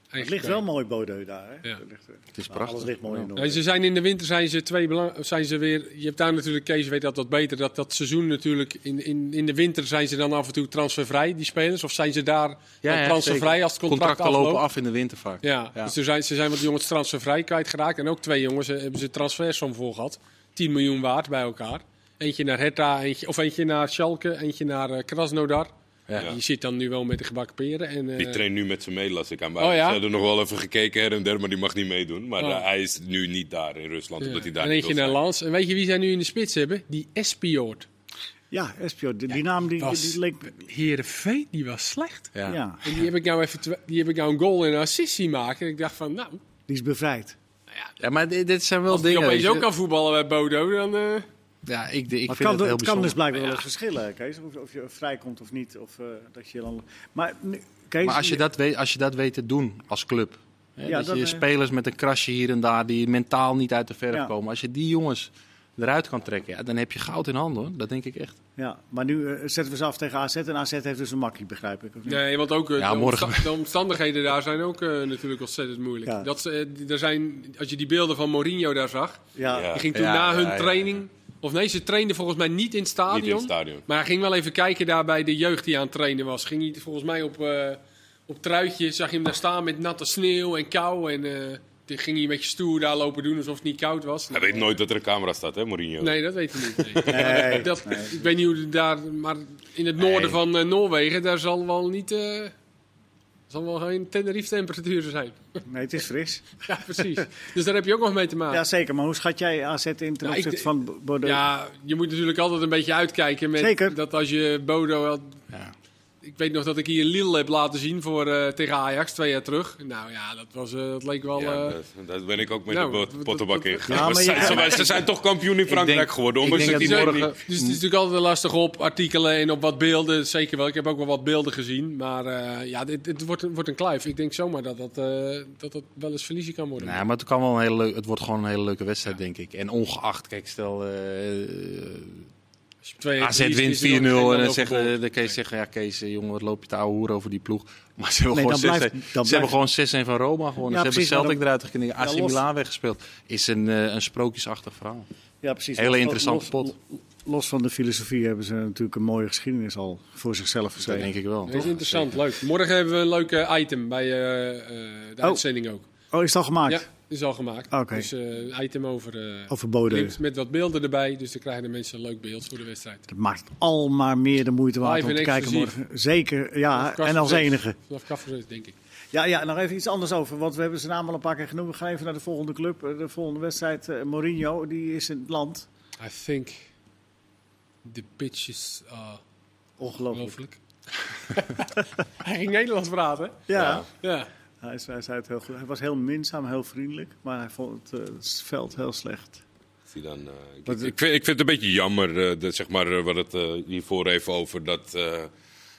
[SPEAKER 1] het ligt wel mooi Bodeu daar. Hè?
[SPEAKER 2] Ja.
[SPEAKER 1] Het ligt, eh,
[SPEAKER 3] Het is
[SPEAKER 1] nou,
[SPEAKER 3] prachtig.
[SPEAKER 1] Alles ligt mooi
[SPEAKER 3] Ja.
[SPEAKER 1] in
[SPEAKER 2] Nou,
[SPEAKER 1] Noorwegen.
[SPEAKER 2] ze zijn in de winter zijn ze twee belang- zijn ze weer. Je hebt daar natuurlijk, Kees weet dat wat beter. Dat dat seizoen natuurlijk. In, in, in de winter zijn ze dan af en toe transfervrij, die spelers. Of zijn ze daar dan
[SPEAKER 3] ja,
[SPEAKER 2] transfervrij
[SPEAKER 3] zeker.
[SPEAKER 2] als het contract
[SPEAKER 3] Contracten lopen
[SPEAKER 2] afloopt?
[SPEAKER 3] af in de winter vaak.
[SPEAKER 2] Ja,
[SPEAKER 3] Ja.
[SPEAKER 2] dus er zijn, ze zijn wat jongens transfervrij kwijtgeraakt. En ook twee jongens eh, hebben ze transfersom voor gehad. 10 miljoen waard bij elkaar. Eentje naar Hertha, eentje, of eentje naar Schalke, eentje naar eh, Krasnodar.
[SPEAKER 3] Ja.
[SPEAKER 2] Die zit dan nu wel met de gebakken peren. En, eh,
[SPEAKER 4] Die traint nu met zijn mee, las ik aan. Maar
[SPEAKER 2] Oh,
[SPEAKER 4] Ze
[SPEAKER 2] ja?
[SPEAKER 4] hadden nog wel even gekeken her en der, maar die mag niet meedoen. Maar
[SPEAKER 2] Oh.
[SPEAKER 4] eh, hij is nu niet daar in Rusland,
[SPEAKER 2] ja.
[SPEAKER 4] omdat hij daar
[SPEAKER 2] en
[SPEAKER 4] niet
[SPEAKER 2] eentje
[SPEAKER 4] wil
[SPEAKER 2] naar
[SPEAKER 4] zijn.
[SPEAKER 2] Lans. En weet je wie zij nu in de spits hebben? Die Espioort.
[SPEAKER 1] Ja, Espio, die, die naam die,
[SPEAKER 2] was-
[SPEAKER 1] die leek...
[SPEAKER 2] Heerenveen, die was slecht.
[SPEAKER 1] Ja.
[SPEAKER 2] En die heb ik nou even twa- die heb ik nou een goal en een assist zien maken. En ik dacht van, nou,
[SPEAKER 1] die is bevrijd.
[SPEAKER 3] Ja, maar dit, dit zijn wel
[SPEAKER 2] als die
[SPEAKER 3] dingen.
[SPEAKER 2] opeens
[SPEAKER 3] weet je.
[SPEAKER 2] ook kan voetballen bij Bodo, dan... eh,
[SPEAKER 3] Ja, ik, ik
[SPEAKER 1] Maar het kan,
[SPEAKER 3] vind het heel
[SPEAKER 1] het kan
[SPEAKER 3] bijzonder.
[SPEAKER 1] dus blijkbaar wel eens verschillen, Kees. Of, of je vrijkomt of niet. Of, eh, dat je dan... Maar, nu, Kees,
[SPEAKER 3] Maar als je dat weet, als je dat weet te doen als club. Hè,
[SPEAKER 1] Ja,
[SPEAKER 3] dat,
[SPEAKER 1] dat,
[SPEAKER 3] je
[SPEAKER 1] eh,
[SPEAKER 3] spelers met een krasje hier en daar die mentaal niet uit de verf
[SPEAKER 1] Ja.
[SPEAKER 3] komen. Als je die jongens eruit kan trekken, ja, dan heb je goud in handen. hoor. Dat denk ik echt.
[SPEAKER 1] Ja, maar nu eh, zetten we ze af tegen AZ. En AZ heeft dus een makkie, begrijp ik. Of niet?
[SPEAKER 2] Nee, want ook eh,
[SPEAKER 3] Ja,
[SPEAKER 2] de,
[SPEAKER 3] morgen.
[SPEAKER 2] omsta- de omstandigheden daar zijn ook eh, natuurlijk ontzettend moeilijk.
[SPEAKER 1] Ja.
[SPEAKER 2] Dat ze, eh, er zijn, als je die beelden van Mourinho daar zag,
[SPEAKER 1] Ja,
[SPEAKER 4] Ja.
[SPEAKER 2] die ging toen
[SPEAKER 3] Ja,
[SPEAKER 2] na
[SPEAKER 3] ja,
[SPEAKER 2] hun
[SPEAKER 3] ja, ja.
[SPEAKER 2] training... Of nee, ze trainde volgens mij niet in het stadion.
[SPEAKER 4] Niet in het stadion.
[SPEAKER 2] Maar hij ging wel even kijken daar bij de jeugd die aan het trainen was. Ging hij volgens mij op, eh, op truitje, zag je hem daar staan met natte sneeuw en kou. En eh, toen ging hij een beetje stoer daar lopen doen alsof het niet koud was.
[SPEAKER 4] Hij weet nooit dat er een camera staat, hè, Mourinho?
[SPEAKER 2] Nee, dat weet hij niet. nee.
[SPEAKER 1] Nee.
[SPEAKER 2] Dat, Ik weet niet hoe het daar, maar in het noorden
[SPEAKER 4] Nee.
[SPEAKER 2] van eh, Noorwegen, daar zal wel niet. eh, zal wel geen Tenerife temperatuur zijn.
[SPEAKER 1] nee, het is fris.
[SPEAKER 2] Ja, precies. dus daar heb je ook nog mee te maken.
[SPEAKER 1] Ja, zeker. Maar hoe schat jij AZ in ten
[SPEAKER 2] ik
[SPEAKER 1] opzichte
[SPEAKER 2] denk-
[SPEAKER 1] van Bo- Bordeaux?
[SPEAKER 2] Ja, je moet natuurlijk altijd een beetje uitkijken met
[SPEAKER 1] Zeker.
[SPEAKER 2] dat als je Bodo had.
[SPEAKER 3] Ja.
[SPEAKER 2] Ik weet nog dat ik hier Lille heb laten zien voor, eh, tegen Ajax twee jaar terug. Nou ja, dat, was, eh, dat leek wel.
[SPEAKER 4] Ja,
[SPEAKER 2] eh,
[SPEAKER 4] dat, dat ben ik ook met
[SPEAKER 2] nou,
[SPEAKER 4] de
[SPEAKER 2] dat-
[SPEAKER 4] pot- pottenbak
[SPEAKER 2] dat-
[SPEAKER 4] ingegaan.
[SPEAKER 1] Ja,
[SPEAKER 4] Maar
[SPEAKER 1] maar
[SPEAKER 4] ze,
[SPEAKER 1] je-
[SPEAKER 4] ze- ze- ze zijn toch kampioen in Frankrijk
[SPEAKER 3] denk-
[SPEAKER 4] geworden.
[SPEAKER 3] ik
[SPEAKER 4] ondanks
[SPEAKER 3] denk
[SPEAKER 4] dat
[SPEAKER 3] dat
[SPEAKER 4] die
[SPEAKER 3] ze-
[SPEAKER 4] morgen...
[SPEAKER 2] Dus het is natuurlijk altijd lastig op artikelen en op wat beelden. Zeker wel. Ik heb ook wel wat beelden gezien. Maar eh, ja, dit, dit wordt, een- wordt een kluif. Ik denk zomaar dat dat, eh, dat, dat wel eens verliezen kan worden.
[SPEAKER 3] Nee, maar het, kan wel een hele leuk, het wordt gewoon een hele leuke wedstrijd, denk ik. En ongeacht, kijk, stel eh,
[SPEAKER 2] Als je twee-
[SPEAKER 3] AZ
[SPEAKER 2] verliest,
[SPEAKER 3] wint 4-0
[SPEAKER 2] is er nog geen
[SPEAKER 3] en dan,
[SPEAKER 2] lopen
[SPEAKER 3] zegt,
[SPEAKER 2] bol.
[SPEAKER 3] eh, dan kan je zeggen, ja Kees, eh, jongen, wat loop je te ouwe hoeren over die ploeg. Maar ze hebben
[SPEAKER 1] Nee,
[SPEAKER 3] gewoon
[SPEAKER 1] dan
[SPEAKER 3] 6-1
[SPEAKER 1] blijft-
[SPEAKER 3] ze
[SPEAKER 1] dan
[SPEAKER 3] hebben
[SPEAKER 1] blijft-
[SPEAKER 3] gewoon 6-1 van Roma
[SPEAKER 1] Ja,
[SPEAKER 3] gewonnen. ze hebben
[SPEAKER 1] precies, maar
[SPEAKER 3] Celtic eruit geknikt, AC
[SPEAKER 1] Ja, los.
[SPEAKER 3] Milan weggespeeld. Is een, eh, een sprookjesachtig verhaal.
[SPEAKER 1] Ja, precies.
[SPEAKER 3] Hele
[SPEAKER 1] Los-
[SPEAKER 3] interessante
[SPEAKER 1] los-
[SPEAKER 3] pot.
[SPEAKER 1] Los van de filosofie hebben ze natuurlijk een mooie geschiedenis al voor zichzelf
[SPEAKER 3] Dat
[SPEAKER 1] geschreven.
[SPEAKER 3] denk ik wel.
[SPEAKER 2] Dat is interessant, leuk. Morgen hebben we een leuk eh, item bij eh, eh, de
[SPEAKER 1] Oh.
[SPEAKER 2] uitzending ook.
[SPEAKER 1] Oh, is het al gemaakt?
[SPEAKER 2] Ja, is al gemaakt.
[SPEAKER 1] Oké.
[SPEAKER 2] Dus eh, een item over eh,
[SPEAKER 1] Over Bode.
[SPEAKER 2] clips met wat beelden erbij. Dus dan krijgen de mensen een leuk beeld voor de wedstrijd.
[SPEAKER 1] Dat maakt het al maar meer de moeite waard
[SPEAKER 2] Live
[SPEAKER 1] om te
[SPEAKER 2] en
[SPEAKER 1] kijken
[SPEAKER 2] exclusief.
[SPEAKER 1] morgen. Zeker, ja.
[SPEAKER 2] Vanaf
[SPEAKER 1] Ah, En als
[SPEAKER 2] Kaffers-
[SPEAKER 1] enige.
[SPEAKER 2] Vanaf Kaffers, denk ik.
[SPEAKER 1] Ja, ja, nog even iets anders over. Want we hebben zijn naam al een paar keer genoemd. We gaan even naar de volgende club. eh, De volgende wedstrijd. eh, Mourinho, die is in het land.
[SPEAKER 2] I think the pitches are...
[SPEAKER 1] Ongelooflijk.
[SPEAKER 2] Ongelooflijk. hij ging Nederlands praten.
[SPEAKER 1] Ja,
[SPEAKER 2] Ja.
[SPEAKER 1] Hij, zei, hij zei het heel goed. Hij was heel minzaam, heel vriendelijk. Maar hij vond het, eh, het veld heel slecht.
[SPEAKER 4] Die dan, eh, ik, ik, vind, ik vind het een beetje jammer, eh, dat, zeg maar, eh, wat het eh, hiervoor even over dat. eh,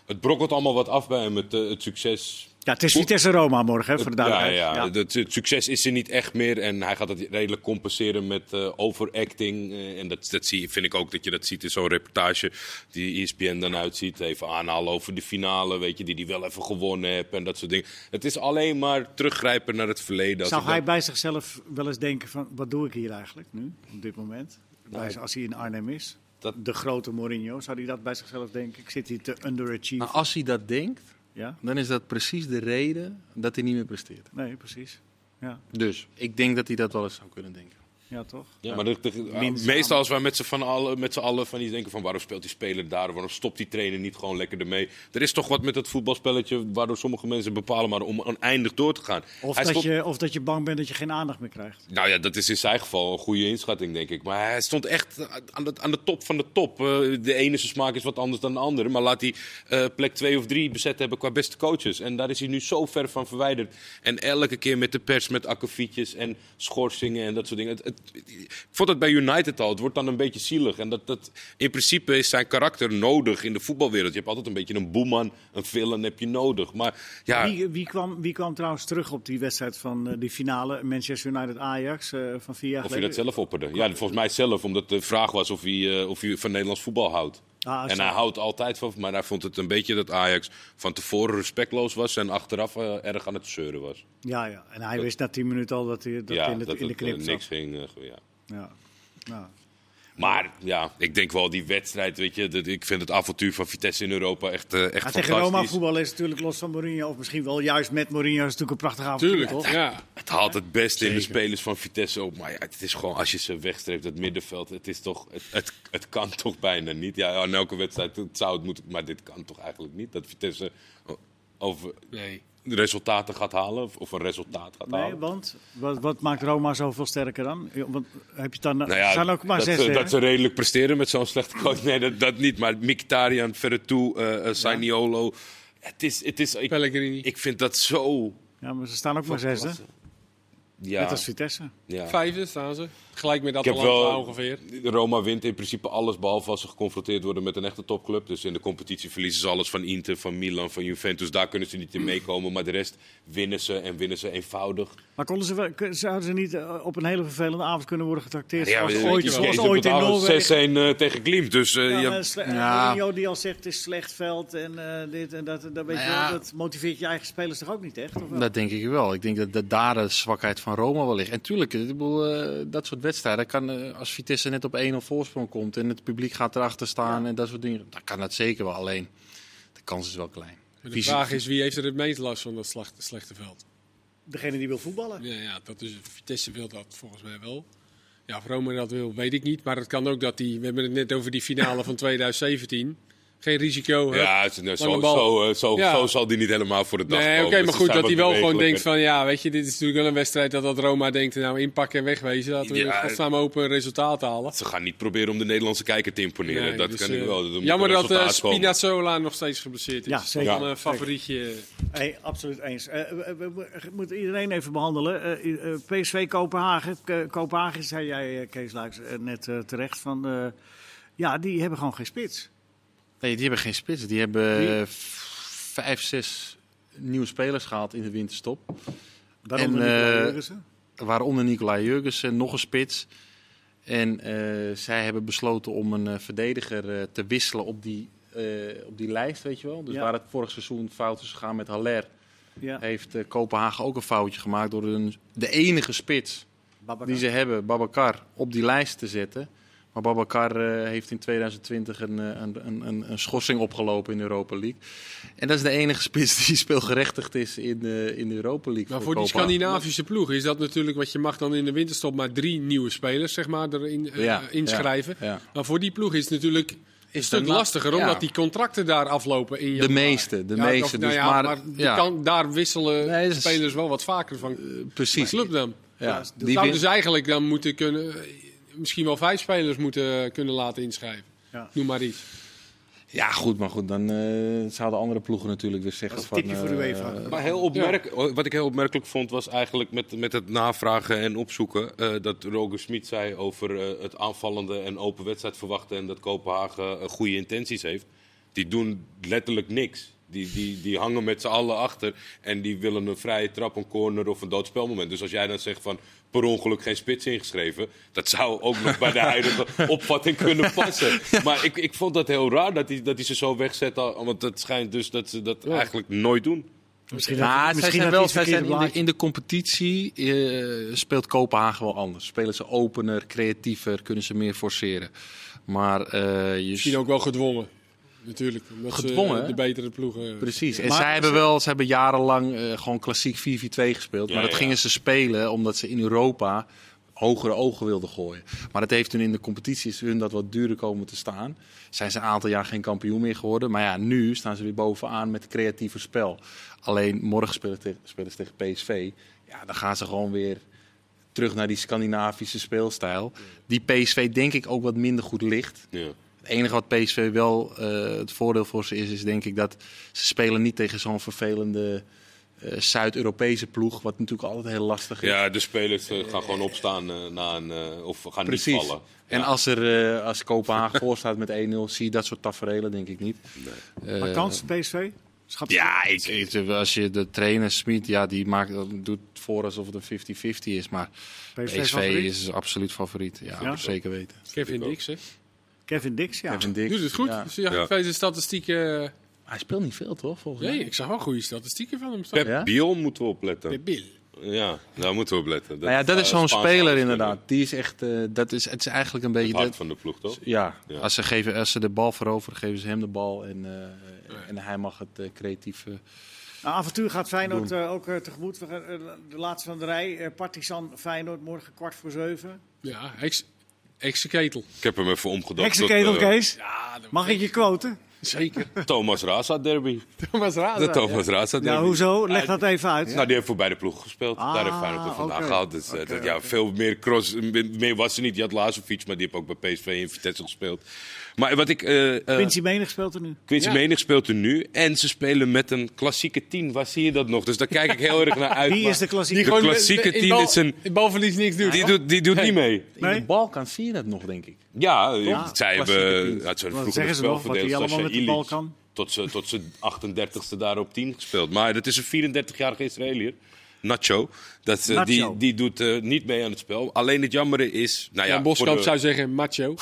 [SPEAKER 4] het brokkelt allemaal wat af bij hem, het, eh, het succes.
[SPEAKER 1] Ja, het is Vitesse-Roma morgen, hè, voor de
[SPEAKER 4] ja,
[SPEAKER 1] duidelijkheid.
[SPEAKER 4] ja, Het, het succes is er niet echt meer en hij gaat het redelijk compenseren met eh, overacting. eh, en dat, dat zie, vind ik ook dat je dat ziet in zo'n reportage die E ESPN dan uitziet. Even aanhalen over de finale, weet je, die die wel even gewonnen hebt en dat soort dingen. Het is alleen maar teruggrijpen naar het verleden. Als
[SPEAKER 1] Zou
[SPEAKER 4] ik dat-
[SPEAKER 1] hij bij zichzelf wel eens denken van, wat doe ik hier eigenlijk nu, op dit moment? Bij z- als hij in Arnhem is,
[SPEAKER 4] Dat-
[SPEAKER 1] de grote Mourinho, zou hij dat bij zichzelf denken? Ik zit hier te underachieven.
[SPEAKER 3] Nou, als hij dat denkt,
[SPEAKER 1] Ja?
[SPEAKER 3] dan is dat precies de reden dat hij niet meer presteert.
[SPEAKER 1] Nee, precies. Ja,
[SPEAKER 3] Dus ik denk dat hij dat wel eens zou kunnen denken.
[SPEAKER 1] ja toch?
[SPEAKER 4] Ja, maar de- de-
[SPEAKER 1] Minzaam.
[SPEAKER 4] meestal als wij met z'n van allen, met z'n allen van die denken van waarom speelt die speler daar, waarom stopt die trainer niet gewoon lekker ermee. Er is toch wat met dat voetbalspelletje waardoor sommige mensen bepalen maar om oneindig door te gaan.
[SPEAKER 1] Of,
[SPEAKER 4] Hij
[SPEAKER 1] dat
[SPEAKER 4] stond-
[SPEAKER 1] je, of dat je bang bent dat je geen aandacht meer krijgt.
[SPEAKER 4] Nou ja, dat is in zijn geval een goede inschatting denk ik. Maar hij stond echt aan de, aan de top van de top. Eh, de ene zijn smaak is wat anders dan de andere, maar laat hij eh, plek twee of drie bezet hebben qua beste coaches. En daar is hij nu zo ver van verwijderd. En elke keer met de pers, met akkefietjes en schorsingen en dat soort dingen. Het, het- ik vond het bij United al. Het wordt dan een beetje zielig. En dat, dat, in principe is zijn karakter nodig in de voetbalwereld. Je hebt altijd een beetje een boeman, een villain heb je nodig. Maar ja,
[SPEAKER 1] Wie, wie, kwam, wie kwam trouwens terug op die wedstrijd van eh, die finale Manchester United-Ajax eh, van vier jaar
[SPEAKER 4] of je
[SPEAKER 1] geleden?
[SPEAKER 4] dat zelf opperde. Ja, volgens mij zelf, omdat de vraag was of hij, eh, of hij van Nederlands voetbal houdt.
[SPEAKER 1] Ah,
[SPEAKER 4] en
[SPEAKER 1] zo.
[SPEAKER 4] hij houdt altijd van, maar hij vond het een beetje dat Ajax van tevoren respectloos was en achteraf eh, erg aan het zeuren was.
[SPEAKER 1] Ja, ja, en hij wist na tien minuten al dat hij dat
[SPEAKER 4] ja,
[SPEAKER 1] in, het,
[SPEAKER 4] dat
[SPEAKER 1] in de
[SPEAKER 4] het, eh,
[SPEAKER 1] knip zat.
[SPEAKER 4] niks ging. eh, ja.
[SPEAKER 1] Ja. Nou,
[SPEAKER 4] Maar ja, ik denk wel die wedstrijd, weet je, dat, ik vind het avontuur van Vitesse in Europa echt, eh, echt
[SPEAKER 1] Maar
[SPEAKER 4] fantastisch.
[SPEAKER 1] tegen Roma voetbal is natuurlijk los van Mourinho, of misschien wel juist met Mourinho, is natuurlijk een prachtige avond.
[SPEAKER 2] Tuurlijk, toch? Ja.
[SPEAKER 4] Het haalt het beste in de spelers van Vitesse op. Maar ja, het is gewoon, als je ze wegstreept, het middenveld, het, is toch, het, het, het kan toch bijna niet. Ja, aan elke wedstrijd het zou het moeten, maar dit kan toch eigenlijk niet. Dat Vitesse over
[SPEAKER 2] Nee.
[SPEAKER 4] resultaten gaat halen, of, of een resultaat gaat
[SPEAKER 1] Nee,
[SPEAKER 4] halen.
[SPEAKER 1] want wat, wat maakt Roma zoveel sterker dan? Ja, Want heb je dan,
[SPEAKER 4] Nou ja,
[SPEAKER 1] er zijn ook maar
[SPEAKER 4] dat,
[SPEAKER 1] zes.
[SPEAKER 4] ze,
[SPEAKER 1] hè?
[SPEAKER 4] dat ze redelijk presteren met zo'n slechte coach. Nee, dat, dat niet. Maar Mkhitaryan, Verretou, eh eh, Sainiolo. Het is, het is, ik,
[SPEAKER 2] Pellegrini.
[SPEAKER 4] ik vind dat zo...
[SPEAKER 1] Ja, maar ze staan ook maar zesde.
[SPEAKER 4] Ja,
[SPEAKER 1] Net als Vitesse.
[SPEAKER 4] ja.
[SPEAKER 2] Vijfde staan ze. Gelijk met
[SPEAKER 4] Ik heb
[SPEAKER 2] Atalanta
[SPEAKER 4] wel-
[SPEAKER 2] ongeveer.
[SPEAKER 4] Roma wint in principe alles behalve als ze geconfronteerd worden met een echte topclub. Dus in de competitie verliezen ze alles van Inter, van Milan, van Juventus. Daar kunnen ze niet in meekomen, maar de rest winnen ze en winnen ze eenvoudig.
[SPEAKER 1] Maar konden ze wel, k- zouden ze niet eh, op een hele vervelende avond kunnen worden getrakteerd?
[SPEAKER 4] Ja,
[SPEAKER 1] zoals
[SPEAKER 4] we-
[SPEAKER 1] ooit,
[SPEAKER 4] die
[SPEAKER 1] zoals
[SPEAKER 4] Chiesa
[SPEAKER 1] ooit in
[SPEAKER 4] betalen
[SPEAKER 1] Noorwegen.
[SPEAKER 4] 6-1 eh, tegen Klimt. Dus eh,
[SPEAKER 1] Ja,
[SPEAKER 4] ja,
[SPEAKER 1] maar sle-
[SPEAKER 3] Ja.
[SPEAKER 1] Mourinho die al zegt het is slecht veld en eh, dit en dat. en dat, weet je
[SPEAKER 3] Nou Ja.
[SPEAKER 1] wel, dat motiveert je eigen spelers toch ook niet echt? Of wel?
[SPEAKER 3] Dat denk ik wel. Ik denk dat, dat daar de zwakheid van Roma wel ligt. En tuurlijk, ik bedoel, eh, dat soort wedstrijden kan eh, als Vitesse net op 1-0 voorsprong komt en het publiek gaat erachter staan en dat soort dingen, dan kan dat zeker wel. Alleen, de kans is wel klein.
[SPEAKER 2] Maar De
[SPEAKER 3] Fysi-
[SPEAKER 2] vraag is wie heeft er het meest last van dat slacht- slechte veld?
[SPEAKER 1] Degene die wil voetballen.
[SPEAKER 2] Ja, ja, dat is, Vitesse wil dat volgens mij wel. Ja, of Roma dat wil, weet ik niet. Maar het kan ook dat die, we hebben het net over die finale van 2017. Geen risico. hup.
[SPEAKER 4] ja, het- nou,
[SPEAKER 2] Lange
[SPEAKER 4] zo,
[SPEAKER 2] bal.
[SPEAKER 4] zo, eh, zo,
[SPEAKER 2] Ja.
[SPEAKER 4] zo zal die niet helemaal voor de dag
[SPEAKER 2] Nee,
[SPEAKER 4] komen.
[SPEAKER 2] oké,
[SPEAKER 4] Dus
[SPEAKER 2] maar
[SPEAKER 4] ze
[SPEAKER 2] goed
[SPEAKER 4] zijn
[SPEAKER 2] dat hij
[SPEAKER 4] wat
[SPEAKER 2] wel gewoon denkt
[SPEAKER 4] bewegelijker.
[SPEAKER 2] van, ja, weet je, dit is natuurlijk wel een wedstrijd dat, dat Roma denkt, nou, inpakken en wegwezen. Laten we
[SPEAKER 4] Ja,
[SPEAKER 2] ja, samen open resultaat halen.
[SPEAKER 4] Ze gaan niet proberen om de Nederlandse kijker te imponeren.
[SPEAKER 2] Nee,
[SPEAKER 4] dat
[SPEAKER 2] dus,
[SPEAKER 4] kan ik
[SPEAKER 2] eh,
[SPEAKER 4] wel. Dat moet
[SPEAKER 2] jammer
[SPEAKER 4] een
[SPEAKER 2] dat eh,
[SPEAKER 4] resultaat komen.
[SPEAKER 2] Spinazzola nog steeds geblesseerd is.
[SPEAKER 1] Ja,
[SPEAKER 2] Dat is
[SPEAKER 1] zeker.
[SPEAKER 2] wel
[SPEAKER 4] Ja,
[SPEAKER 2] een favorietje. eh,
[SPEAKER 1] Hey, absoluut eens. Eh, we, we- we moeten iedereen even behandelen. Eh, eh, PSV Kopenhagen. K- Kopenhagen, zei jij, eh, Kees Luijks, eh, net eh, terecht. Van, eh, ja, die hebben gewoon geen spits.
[SPEAKER 3] Nee, die hebben geen spits. Die hebben
[SPEAKER 1] Wie?
[SPEAKER 3] eh, v- vijf, zes nieuwe spelers gehaald in de winterstop.
[SPEAKER 1] Daarom
[SPEAKER 3] En, eh,
[SPEAKER 1] de
[SPEAKER 3] Waaronder Nicolai Jurgensen, nog een spits. En eh, zij hebben besloten om een eh, verdediger eh, te wisselen op die, eh, op die lijst, weet je wel. Dus
[SPEAKER 1] Ja.
[SPEAKER 3] waar het vorig seizoen fout is gegaan met Haller,
[SPEAKER 1] ja,
[SPEAKER 3] heeft eh, Kopenhagen ook een foutje gemaakt door een, de enige spits
[SPEAKER 1] Babacar.
[SPEAKER 3] die ze hebben, Babacar, op die lijst te zetten. Maar Babacar eh, heeft in 2020 een, eh, een, een, een, een schorsing opgelopen in de Europa League. En dat is de enige spits die speelgerechtigd is in de, in de Europa League.
[SPEAKER 2] Maar nou, voor die
[SPEAKER 3] Kopenhagen.
[SPEAKER 2] Scandinavische ploeg is dat natuurlijk wat je mag dan in de winterstop maar drie nieuwe spelers zeg maar, erin eh,
[SPEAKER 3] Ja,
[SPEAKER 2] inschrijven.
[SPEAKER 3] ja, ja.
[SPEAKER 2] Maar voor die ploeg is het natuurlijk een stuk
[SPEAKER 3] de ma-
[SPEAKER 2] lastiger,
[SPEAKER 3] ja.
[SPEAKER 2] omdat die contracten daar aflopen in
[SPEAKER 3] De
[SPEAKER 2] januari.
[SPEAKER 3] meeste, de
[SPEAKER 2] Ja,
[SPEAKER 3] meeste.
[SPEAKER 2] of- nou
[SPEAKER 3] dus,
[SPEAKER 2] ja,
[SPEAKER 3] maar
[SPEAKER 2] die
[SPEAKER 3] ja,
[SPEAKER 2] kan- daar wisselen
[SPEAKER 3] Nee, dat is-
[SPEAKER 2] spelers wel wat vaker van
[SPEAKER 3] precies.
[SPEAKER 2] club dan.
[SPEAKER 3] Ja,
[SPEAKER 2] Die
[SPEAKER 3] die
[SPEAKER 2] zou
[SPEAKER 3] win-
[SPEAKER 2] dus eigenlijk dan moeten kunnen, eh, misschien wel vijf spelers moeten kunnen laten inschrijven.
[SPEAKER 1] Ja.
[SPEAKER 2] Noem maar iets.
[SPEAKER 3] ja, goed, maar goed. Dan eh, zouden andere ploegen natuurlijk weer zeggen
[SPEAKER 1] Dat is
[SPEAKER 3] van...
[SPEAKER 1] een tipje voor de
[SPEAKER 3] eh,
[SPEAKER 1] UEFA.
[SPEAKER 4] Maar heel opmerk, oh, wat ik heel opmerkelijk vond was eigenlijk met, met het navragen en opzoeken. eh, dat Roger Smit zei over eh, het aanvallende en open wedstrijd verwachten. En dat Kopenhagen eh, goede intenties heeft. Die doen letterlijk niks. Die, die, die hangen met z'n allen achter. En die willen een vrije trap, een corner of een doodspelmoment. Dus als jij dan zegt van per ongeluk geen spits ingeschreven. Dat zou ook nog bij de huidige opvatting kunnen passen. Maar ik, ik vond dat heel raar dat die, dat die ze zo wegzetten. Want het schijnt dus dat ze dat eigenlijk nooit doen.
[SPEAKER 1] Misschien
[SPEAKER 3] Maar zij zijn wel, zij zijn in, de,
[SPEAKER 1] blaadje.
[SPEAKER 3] in de competitie eh, speelt Kopenhagen wel anders. Spelen ze opener, creatiever, kunnen ze meer forceren. Maar eh, je
[SPEAKER 2] Misschien ook wel gedwongen. Natuurlijk. Omdat ze, eh,
[SPEAKER 3] Gedwongen, hè?
[SPEAKER 2] de betere ploegen. eh,
[SPEAKER 4] Dus, eh,
[SPEAKER 3] Precies. En
[SPEAKER 1] Maar-
[SPEAKER 3] zij hebben wel, ze hebben jarenlang eh, gewoon klassiek 4-4-2 gespeeld. maar
[SPEAKER 4] Ja,
[SPEAKER 3] dat
[SPEAKER 4] ja.
[SPEAKER 3] gingen ze spelen omdat ze in Europa hogere ogen wilden gooien. Maar dat heeft hun in de competitie is hun dat wat duurder komen te staan. Zijn ze een aantal jaar geen kampioen meer geworden. Maar ja, nu staan ze weer bovenaan met creatiever spel. Alleen morgen spelen, te- spelen ze tegen PSV. Ja, dan gaan ze gewoon weer terug naar die Scandinavische speelstijl. Die PSV denk ik ook wat minder goed ligt.
[SPEAKER 4] Ja.
[SPEAKER 3] Het enige wat PSV wel eh, het voordeel voor ze is, is denk ik dat ze spelen niet tegen zo'n vervelende eh, Zuid-Europese ploeg, wat natuurlijk altijd heel lastig is.
[SPEAKER 4] Ja, de spelers eh, gaan gewoon opstaan eh, na een, eh, of gaan niet
[SPEAKER 3] Precies.
[SPEAKER 4] vallen.
[SPEAKER 3] En als, er, eh, als Kopenhagen voor staat met 1-0, zie je dat soort tafereelen denk ik niet.
[SPEAKER 1] Maar kans, PSV? Schat
[SPEAKER 3] eh, Ja, ik, ik- als je de trainer Smit, ja, die maakt, dat doet voor alsof het een 50-50 is. Maar
[SPEAKER 1] PSV
[SPEAKER 3] PSV
[SPEAKER 1] favoriet?
[SPEAKER 3] is absoluut favoriet. Ja,
[SPEAKER 1] Ja?
[SPEAKER 3] zeker weten.
[SPEAKER 2] Kevin Dix, hè?
[SPEAKER 1] Kevin Dix, ja.
[SPEAKER 3] Kevin Dix,
[SPEAKER 2] Doet het goed.
[SPEAKER 3] ja.
[SPEAKER 2] Dus ja,
[SPEAKER 4] Ja.
[SPEAKER 2] ik weet de statistieken. eh,
[SPEAKER 3] Hij speelt niet veel, toch? Volgens
[SPEAKER 2] Nee,
[SPEAKER 3] mij.
[SPEAKER 2] ik zag wel goede statistieken van hem staan.
[SPEAKER 4] Pep
[SPEAKER 3] Ja?
[SPEAKER 4] Biel moeten we opletten.
[SPEAKER 2] Pep Bill.
[SPEAKER 4] Ja, daar moeten we opletten.
[SPEAKER 3] Nou ja, dat is
[SPEAKER 4] eh,
[SPEAKER 3] zo'n
[SPEAKER 4] Spaanse
[SPEAKER 3] speler
[SPEAKER 4] aanspeler.
[SPEAKER 3] inderdaad. Die is echt, eh, dat is, het is eigenlijk een beetje...
[SPEAKER 4] Het hart
[SPEAKER 3] dat-
[SPEAKER 4] van de ploeg, toch?
[SPEAKER 3] Ja,
[SPEAKER 4] Ja.
[SPEAKER 3] Als, ze geven, als ze de bal veroveren, geven ze hem de bal. En, eh, en hij mag het eh, creatieve...
[SPEAKER 1] Nou, avontuur gaat Feyenoord eh, ook eh, tegemoet. We gaan, eh, de laatste van de rij, eh, Partizan Feyenoord, morgen kwart voor zeven.
[SPEAKER 2] Ja, ex, ex ketel.
[SPEAKER 4] Ik heb hem even omgedacht. tot,
[SPEAKER 1] Heksenketel,
[SPEAKER 4] eh,
[SPEAKER 1] Kees.
[SPEAKER 2] Ja, dat-
[SPEAKER 1] Mag ik je quoten?
[SPEAKER 3] Zeker.
[SPEAKER 4] Thomas Raza derby.
[SPEAKER 2] Thomas
[SPEAKER 3] Ah,
[SPEAKER 2] Raza.
[SPEAKER 4] De Thomas Raza derby.
[SPEAKER 1] Ja, Nou, hoezo? Leg dat even uit.
[SPEAKER 4] Nou, die heeft voor beide ploegen gespeeld.
[SPEAKER 1] Ah,
[SPEAKER 4] Daar heeft Feyenoord het vandaan
[SPEAKER 1] oké.
[SPEAKER 4] gehaald. Dus, eh,
[SPEAKER 1] Oké,
[SPEAKER 4] dat, ja,
[SPEAKER 1] oké.
[SPEAKER 4] Veel meer cross, m- meer was ze niet. Die had Lazovic, maar die heeft ook bij PSV en Vitesse gespeeld. Maar wat ik... eh, eh,
[SPEAKER 1] Quincy Menig speelt er nu.
[SPEAKER 4] Quincy
[SPEAKER 2] Ja.
[SPEAKER 4] Menig speelt er nu. En ze spelen met een klassieke team. Waar zie je dat nog? Dus daar kijk ik heel erg naar uit.
[SPEAKER 1] Wie
[SPEAKER 4] maar
[SPEAKER 1] is de klassieke?
[SPEAKER 4] Die
[SPEAKER 2] Gewoon eh,
[SPEAKER 4] klassieke
[SPEAKER 2] in
[SPEAKER 4] team
[SPEAKER 2] bal-
[SPEAKER 4] is een-
[SPEAKER 2] in balverlies niks doen.
[SPEAKER 4] Die doet, die doet
[SPEAKER 2] Nee.
[SPEAKER 4] niet mee.
[SPEAKER 3] In
[SPEAKER 1] Nee?
[SPEAKER 3] de Balkan zie je dat nog, denk ik.
[SPEAKER 4] Ja,
[SPEAKER 1] Ja,
[SPEAKER 4] eh, zij
[SPEAKER 3] klassieke
[SPEAKER 4] hebben...
[SPEAKER 3] team.
[SPEAKER 4] Ja, het zijn
[SPEAKER 1] Wat
[SPEAKER 4] vroeger
[SPEAKER 1] zeggen
[SPEAKER 4] het
[SPEAKER 1] ze nog? Wat hij
[SPEAKER 4] spelverdeeld
[SPEAKER 1] allemaal met de bal kan?
[SPEAKER 4] Tot ze, tot ze 38ste daar op 10 gespeeld. Maar dat is een 34-jarige Israëliër. Nacho. Dat, eh,
[SPEAKER 1] Nacho.
[SPEAKER 4] Die, die doet eh, niet mee aan het spel. Alleen het jammere is... Nou ja,
[SPEAKER 2] Ja,
[SPEAKER 4] voor
[SPEAKER 2] Boskamp
[SPEAKER 4] de-
[SPEAKER 2] zou zeggen macho.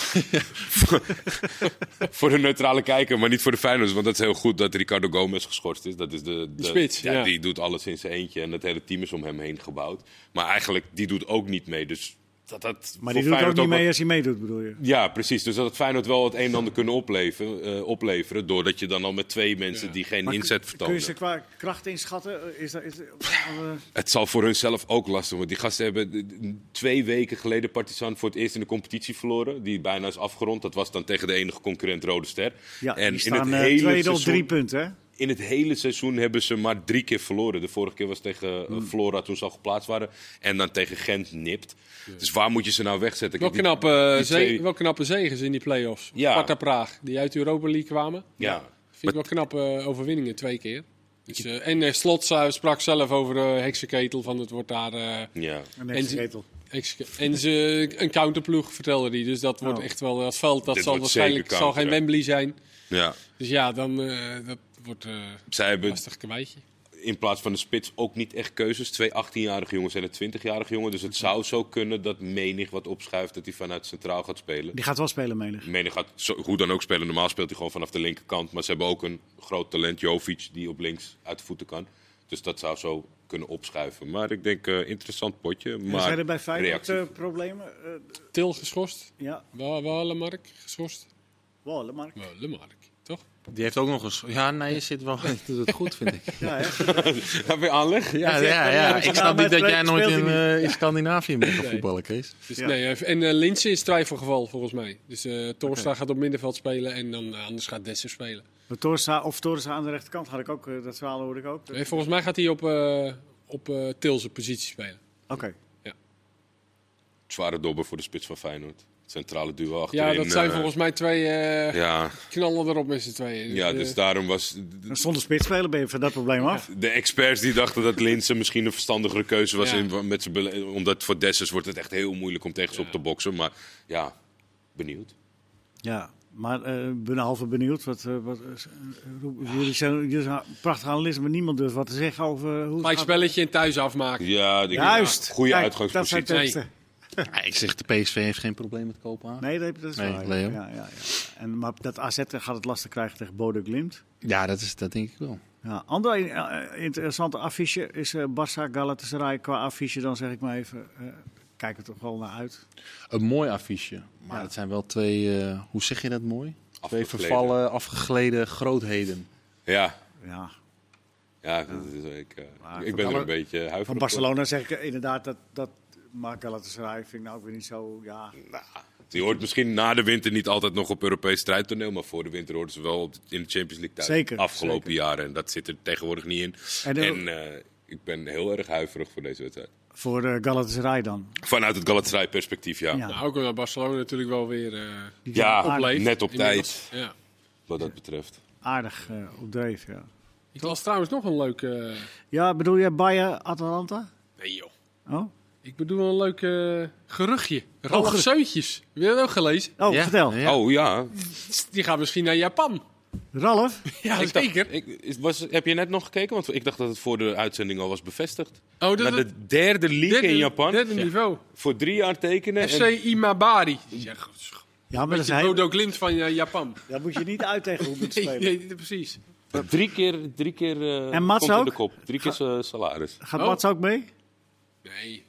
[SPEAKER 4] voor de neutrale kijker, maar niet voor de Feyenoorders. Want dat is heel goed dat Ricardo Gomez geschorst is. Dat is de, de
[SPEAKER 2] spits, ja.
[SPEAKER 4] Die doet alles in zijn eentje en het hele team is om hem heen gebouwd. Maar eigenlijk, die doet ook niet mee. Dus dat, dat
[SPEAKER 1] Maar
[SPEAKER 4] voor
[SPEAKER 1] die doet ook
[SPEAKER 4] Feyenoord
[SPEAKER 1] niet mee
[SPEAKER 4] wel-
[SPEAKER 1] als hij meedoet, bedoel je?
[SPEAKER 4] Ja, precies. Dus dat het Feyenoord wel het een en ander kunnen opleveren. eh, opleveren doordat je dan al met twee mensen die geen
[SPEAKER 1] Maar
[SPEAKER 4] inzet
[SPEAKER 1] kun-
[SPEAKER 4] vertonen.
[SPEAKER 1] Kun je ze qua kracht inschatten? Is dat, is,
[SPEAKER 4] Het zal voor hunzelf ook lastig, want die gasten hebben eh, twee weken geleden Partizan voor het eerst in de competitie verloren. Die bijna is afgerond. Dat was dan tegen de enige concurrent Rode Ster.
[SPEAKER 1] ja,
[SPEAKER 4] en
[SPEAKER 1] die staan
[SPEAKER 4] in
[SPEAKER 1] eh,
[SPEAKER 4] het hele
[SPEAKER 1] tweede op
[SPEAKER 4] seizoen-
[SPEAKER 1] drie punten, hè?
[SPEAKER 4] In het hele seizoen hebben ze maar drie keer verloren. De vorige keer was tegen eh,
[SPEAKER 1] Hmm.
[SPEAKER 4] Flora toen ze al geplaatst waren. En dan tegen Gent nipt. Dus waar moet je ze nou wegzetten?
[SPEAKER 2] Wel
[SPEAKER 4] Kijk, die-
[SPEAKER 2] knappe, eh,
[SPEAKER 4] die
[SPEAKER 2] ze-
[SPEAKER 4] twee-
[SPEAKER 2] wel knappe zegens in die play-offs.
[SPEAKER 4] Ja.
[SPEAKER 2] Sparta Praag, die uit de Europa League kwamen.
[SPEAKER 4] Ja.
[SPEAKER 2] Vind ik wel knappe eh, overwinningen, twee keer. Dus, eh, en eh, Slot eh, sprak zelf over de heksenketel, van het wordt daar... eh,
[SPEAKER 4] ja.
[SPEAKER 1] Een
[SPEAKER 2] En ze-
[SPEAKER 1] heksenketel.
[SPEAKER 2] heksenke- en ze, een counterploeg vertelde hij. Dus dat wordt
[SPEAKER 1] Oh.
[SPEAKER 2] echt wel... Dat veld, dat
[SPEAKER 4] Dit
[SPEAKER 2] zal
[SPEAKER 4] wordt
[SPEAKER 2] waarschijnlijk
[SPEAKER 4] zeker
[SPEAKER 2] zal geen
[SPEAKER 4] counter, hè?
[SPEAKER 2] Wembley zijn.
[SPEAKER 4] ja.
[SPEAKER 2] Dus ja, dan eh, dat wordt eh,
[SPEAKER 4] Zij
[SPEAKER 2] een
[SPEAKER 4] hebben
[SPEAKER 2] lastig kwijtje.
[SPEAKER 4] in plaats van de spits ook niet echt keuzes. Twee 18-jarige jongens en een 20-jarige jongen. Dus het zou zo kunnen dat Menig wat opschuift dat hij vanuit centraal gaat spelen.
[SPEAKER 1] Die gaat wel spelen, Menig.
[SPEAKER 4] Menig gaat zo, hoe dan ook spelen. Normaal speelt hij gewoon vanaf de linkerkant. Maar ze hebben ook een groot talent, Jovic, die op links uit de voeten kan. Dus dat zou zo kunnen opschuiven. Maar ik denk, eh, interessant potje. Maar
[SPEAKER 1] Zijn er bij Feyenoord
[SPEAKER 4] reactie.
[SPEAKER 1] eh, problemen? Eh,
[SPEAKER 2] Til geschorst.
[SPEAKER 1] ja,
[SPEAKER 2] Wa- Wallenmark geschorst.
[SPEAKER 1] wel, Mark.
[SPEAKER 2] Wallenmark, toch?
[SPEAKER 3] Die heeft ook nog eens. Ja, nee, je zit wel. je doet het goed, vind ik.
[SPEAKER 1] Ja, hè?
[SPEAKER 4] Heb je aanleg?
[SPEAKER 3] Ja, ja, ja. Ik snap niet dat jij nooit in, eh, in Scandinavië bent gaan
[SPEAKER 2] Nee.
[SPEAKER 3] voetballen, Kees.
[SPEAKER 2] Dus
[SPEAKER 1] Ja.
[SPEAKER 2] nee, eh, en eh, Linse is twijfelgeval volgens mij. Dus eh Torstra gaat op middenveld spelen en dan eh, anders gaat Dessen spelen.
[SPEAKER 1] Maar Torsa, of Torsa aan de rechterkant had ik ook, eh, dat verhaal hoorde ik ook.
[SPEAKER 2] Nee, volgens mij gaat hij op, eh op eh Til zijn positie spelen.
[SPEAKER 1] Oké.
[SPEAKER 4] Zware dobber voor de spits van Feyenoord. Centrale duo achterin.
[SPEAKER 2] Ja, dat zijn
[SPEAKER 4] eh,
[SPEAKER 2] volgens mij twee eh,
[SPEAKER 4] Ja,
[SPEAKER 2] knallen erop met z'n tweeën.
[SPEAKER 4] ja
[SPEAKER 2] eh,
[SPEAKER 4] dus daarom was...
[SPEAKER 1] Dan Zonder spits spelen ben je van dat probleem af.
[SPEAKER 4] De experts die dachten dat Linsen misschien een verstandigere keuze was.
[SPEAKER 2] Ja.
[SPEAKER 4] In, met zijn bele- omdat voor Dessers wordt het echt heel moeilijk om tegen ze op te boksen. Maar ja, benieuwd.
[SPEAKER 1] Ja, maar eh, ik ben halve benieuwd. Wat, eh, wat, eh, roep- jullie, zijn, jullie zijn prachtige analisten, maar niemand durft wat te zeggen over hoe
[SPEAKER 2] Gelijk
[SPEAKER 1] het gaat.
[SPEAKER 2] spelletje en thuis afmaken.
[SPEAKER 4] Ja, ik-
[SPEAKER 1] Juist.
[SPEAKER 4] Goede
[SPEAKER 1] Kijk, Dat
[SPEAKER 4] uitgangspositie.
[SPEAKER 1] zijn teksten.
[SPEAKER 3] Ja, ik zeg, de PSV heeft geen probleem met Kopenhagen.
[SPEAKER 1] Nee, dat, dat is
[SPEAKER 3] Nee,
[SPEAKER 1] waar.
[SPEAKER 3] Leo.
[SPEAKER 1] Ja, ja, ja. En, maar dat AZ gaat het lastig krijgen tegen Bodo Glimt.
[SPEAKER 3] Ja, dat, is, dat denk ik wel.
[SPEAKER 1] Ja, ander eh, interessante affiche is eh Barça Galatasaray. Qua affiche dan zeg ik maar even, eh, kijk er toch wel naar uit.
[SPEAKER 3] Een mooi affiche. Maar
[SPEAKER 1] Ja.
[SPEAKER 3] het zijn wel twee, eh, hoe zeg je dat mooi? Twee
[SPEAKER 4] Afgegleden.
[SPEAKER 3] vervallen, afgegleden grootheden.
[SPEAKER 4] Ja,
[SPEAKER 1] Ja,
[SPEAKER 4] ja dat is, ik, eh,
[SPEAKER 1] Maar
[SPEAKER 4] ik
[SPEAKER 1] van
[SPEAKER 4] ben er
[SPEAKER 1] alle-
[SPEAKER 4] een beetje
[SPEAKER 1] Van
[SPEAKER 4] huiverig voor.
[SPEAKER 1] Barcelona zeg ik eh, inderdaad dat, dat maar Galatasaray vind ik nou ook weer niet zo, ja.
[SPEAKER 4] Die hoort misschien na de winter niet altijd nog op Europees strijdtoneel. Maar voor de winter hoorden ze wel op de- in de Champions League thuis.
[SPEAKER 1] Zeker,
[SPEAKER 4] Afgelopen
[SPEAKER 1] zeker.
[SPEAKER 4] jaren. En dat zit er tegenwoordig niet in.
[SPEAKER 1] En
[SPEAKER 4] En,
[SPEAKER 1] de-
[SPEAKER 4] eh, ik ben heel erg huiverig voor deze wedstrijd.
[SPEAKER 1] Voor eh, Galatasaray dan.
[SPEAKER 4] Vanuit het Galatasaray perspectief, ja.
[SPEAKER 1] Ja.
[SPEAKER 4] Ja,
[SPEAKER 2] Nou, ook omdat Barcelona natuurlijk wel weer eh opleeft.
[SPEAKER 4] net op
[SPEAKER 2] inmiddels.
[SPEAKER 4] tijd.
[SPEAKER 2] Ja.
[SPEAKER 4] Wat dat betreft.
[SPEAKER 1] Aardig eh, op dreef, ja.
[SPEAKER 2] Ik las trouwens nog een leuke... eh,
[SPEAKER 1] Ja, bedoel jij Bayer Atalanta?
[SPEAKER 2] Nee joh.
[SPEAKER 1] Oh,
[SPEAKER 2] Ik bedoel een leuk eh, geruchtje. Ralf
[SPEAKER 1] gerucht.
[SPEAKER 2] Zeutjes. Heb je dat ook gelezen?
[SPEAKER 1] oh
[SPEAKER 3] Ja,
[SPEAKER 1] vertel.
[SPEAKER 3] ja.
[SPEAKER 4] Oh ja,
[SPEAKER 2] Die gaat misschien naar Japan.
[SPEAKER 1] Ralf?
[SPEAKER 2] Ja,
[SPEAKER 4] Ik dacht- ik, is- was, heb je net nog gekeken? Want ik dacht dat het voor de uitzending al was bevestigd.
[SPEAKER 2] Oh,
[SPEAKER 4] Naar
[SPEAKER 2] dat is
[SPEAKER 4] de derde league in Japan.
[SPEAKER 2] Derde niveau.
[SPEAKER 4] Voor drie jaar tekenen.
[SPEAKER 2] FC
[SPEAKER 4] en-
[SPEAKER 2] Imabari. Ja, goed.
[SPEAKER 1] Ja, maar dat, is
[SPEAKER 2] Beetje
[SPEAKER 1] heel-
[SPEAKER 2] Bodo Glimt van eh, Japan.
[SPEAKER 1] daar moet je niet uit tegen hoe moet
[SPEAKER 2] Nee,
[SPEAKER 1] spelen.
[SPEAKER 2] nee, precies.
[SPEAKER 4] drie keer, drie keer eh,
[SPEAKER 1] En Mats
[SPEAKER 4] komt in
[SPEAKER 1] ook?
[SPEAKER 4] de kop. Drie keer zijn salaris.
[SPEAKER 1] Gaat
[SPEAKER 2] Oh.
[SPEAKER 1] Mats ook mee?
[SPEAKER 2] Nee. nee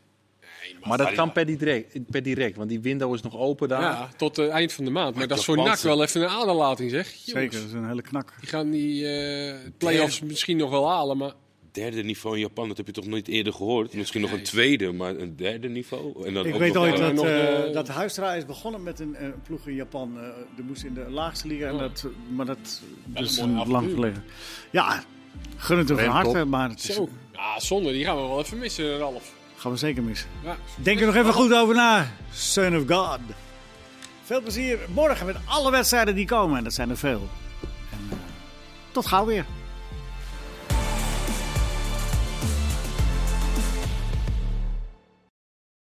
[SPEAKER 3] Maar dat kan per direct, per direct, want die window is nog open daar.
[SPEAKER 2] Ja, tot het eind van de maand. Maar dat is voor NAC
[SPEAKER 4] Japanse-
[SPEAKER 2] wel even een aderlating, zeg. Jongens,
[SPEAKER 1] Zeker, dat is een hele knak.
[SPEAKER 2] Die gaan die eh play-offs misschien nog wel halen, maar...
[SPEAKER 4] derde niveau in Japan, dat heb je toch nooit eerder gehoord? Misschien nog een tweede, maar een derde niveau? En dan
[SPEAKER 1] Ik
[SPEAKER 4] ook
[SPEAKER 1] weet
[SPEAKER 4] nog
[SPEAKER 1] ooit
[SPEAKER 4] daar-
[SPEAKER 1] dat,
[SPEAKER 2] nog,
[SPEAKER 1] eh,
[SPEAKER 2] eh,
[SPEAKER 1] dat Huistra is begonnen met een eh, ploeg in Japan. Eh die moest in de laagste liga. En dat, maar dat, dat is
[SPEAKER 2] Oh. een mooi
[SPEAKER 1] een lang
[SPEAKER 2] avontuur.
[SPEAKER 1] geleden. Ja, gun het hem van
[SPEAKER 3] Rem,
[SPEAKER 1] harte.
[SPEAKER 3] top.
[SPEAKER 1] Maar het is,
[SPEAKER 2] Zo. Ja, zonde. Die gaan we wel even missen, Ralf.
[SPEAKER 1] gaan we zeker missen.
[SPEAKER 2] Ja.
[SPEAKER 1] Denk er nog even goed over na, Son of God. Veel plezier morgen met alle wedstrijden die komen. En dat zijn er veel. En, eh, tot gauw weer.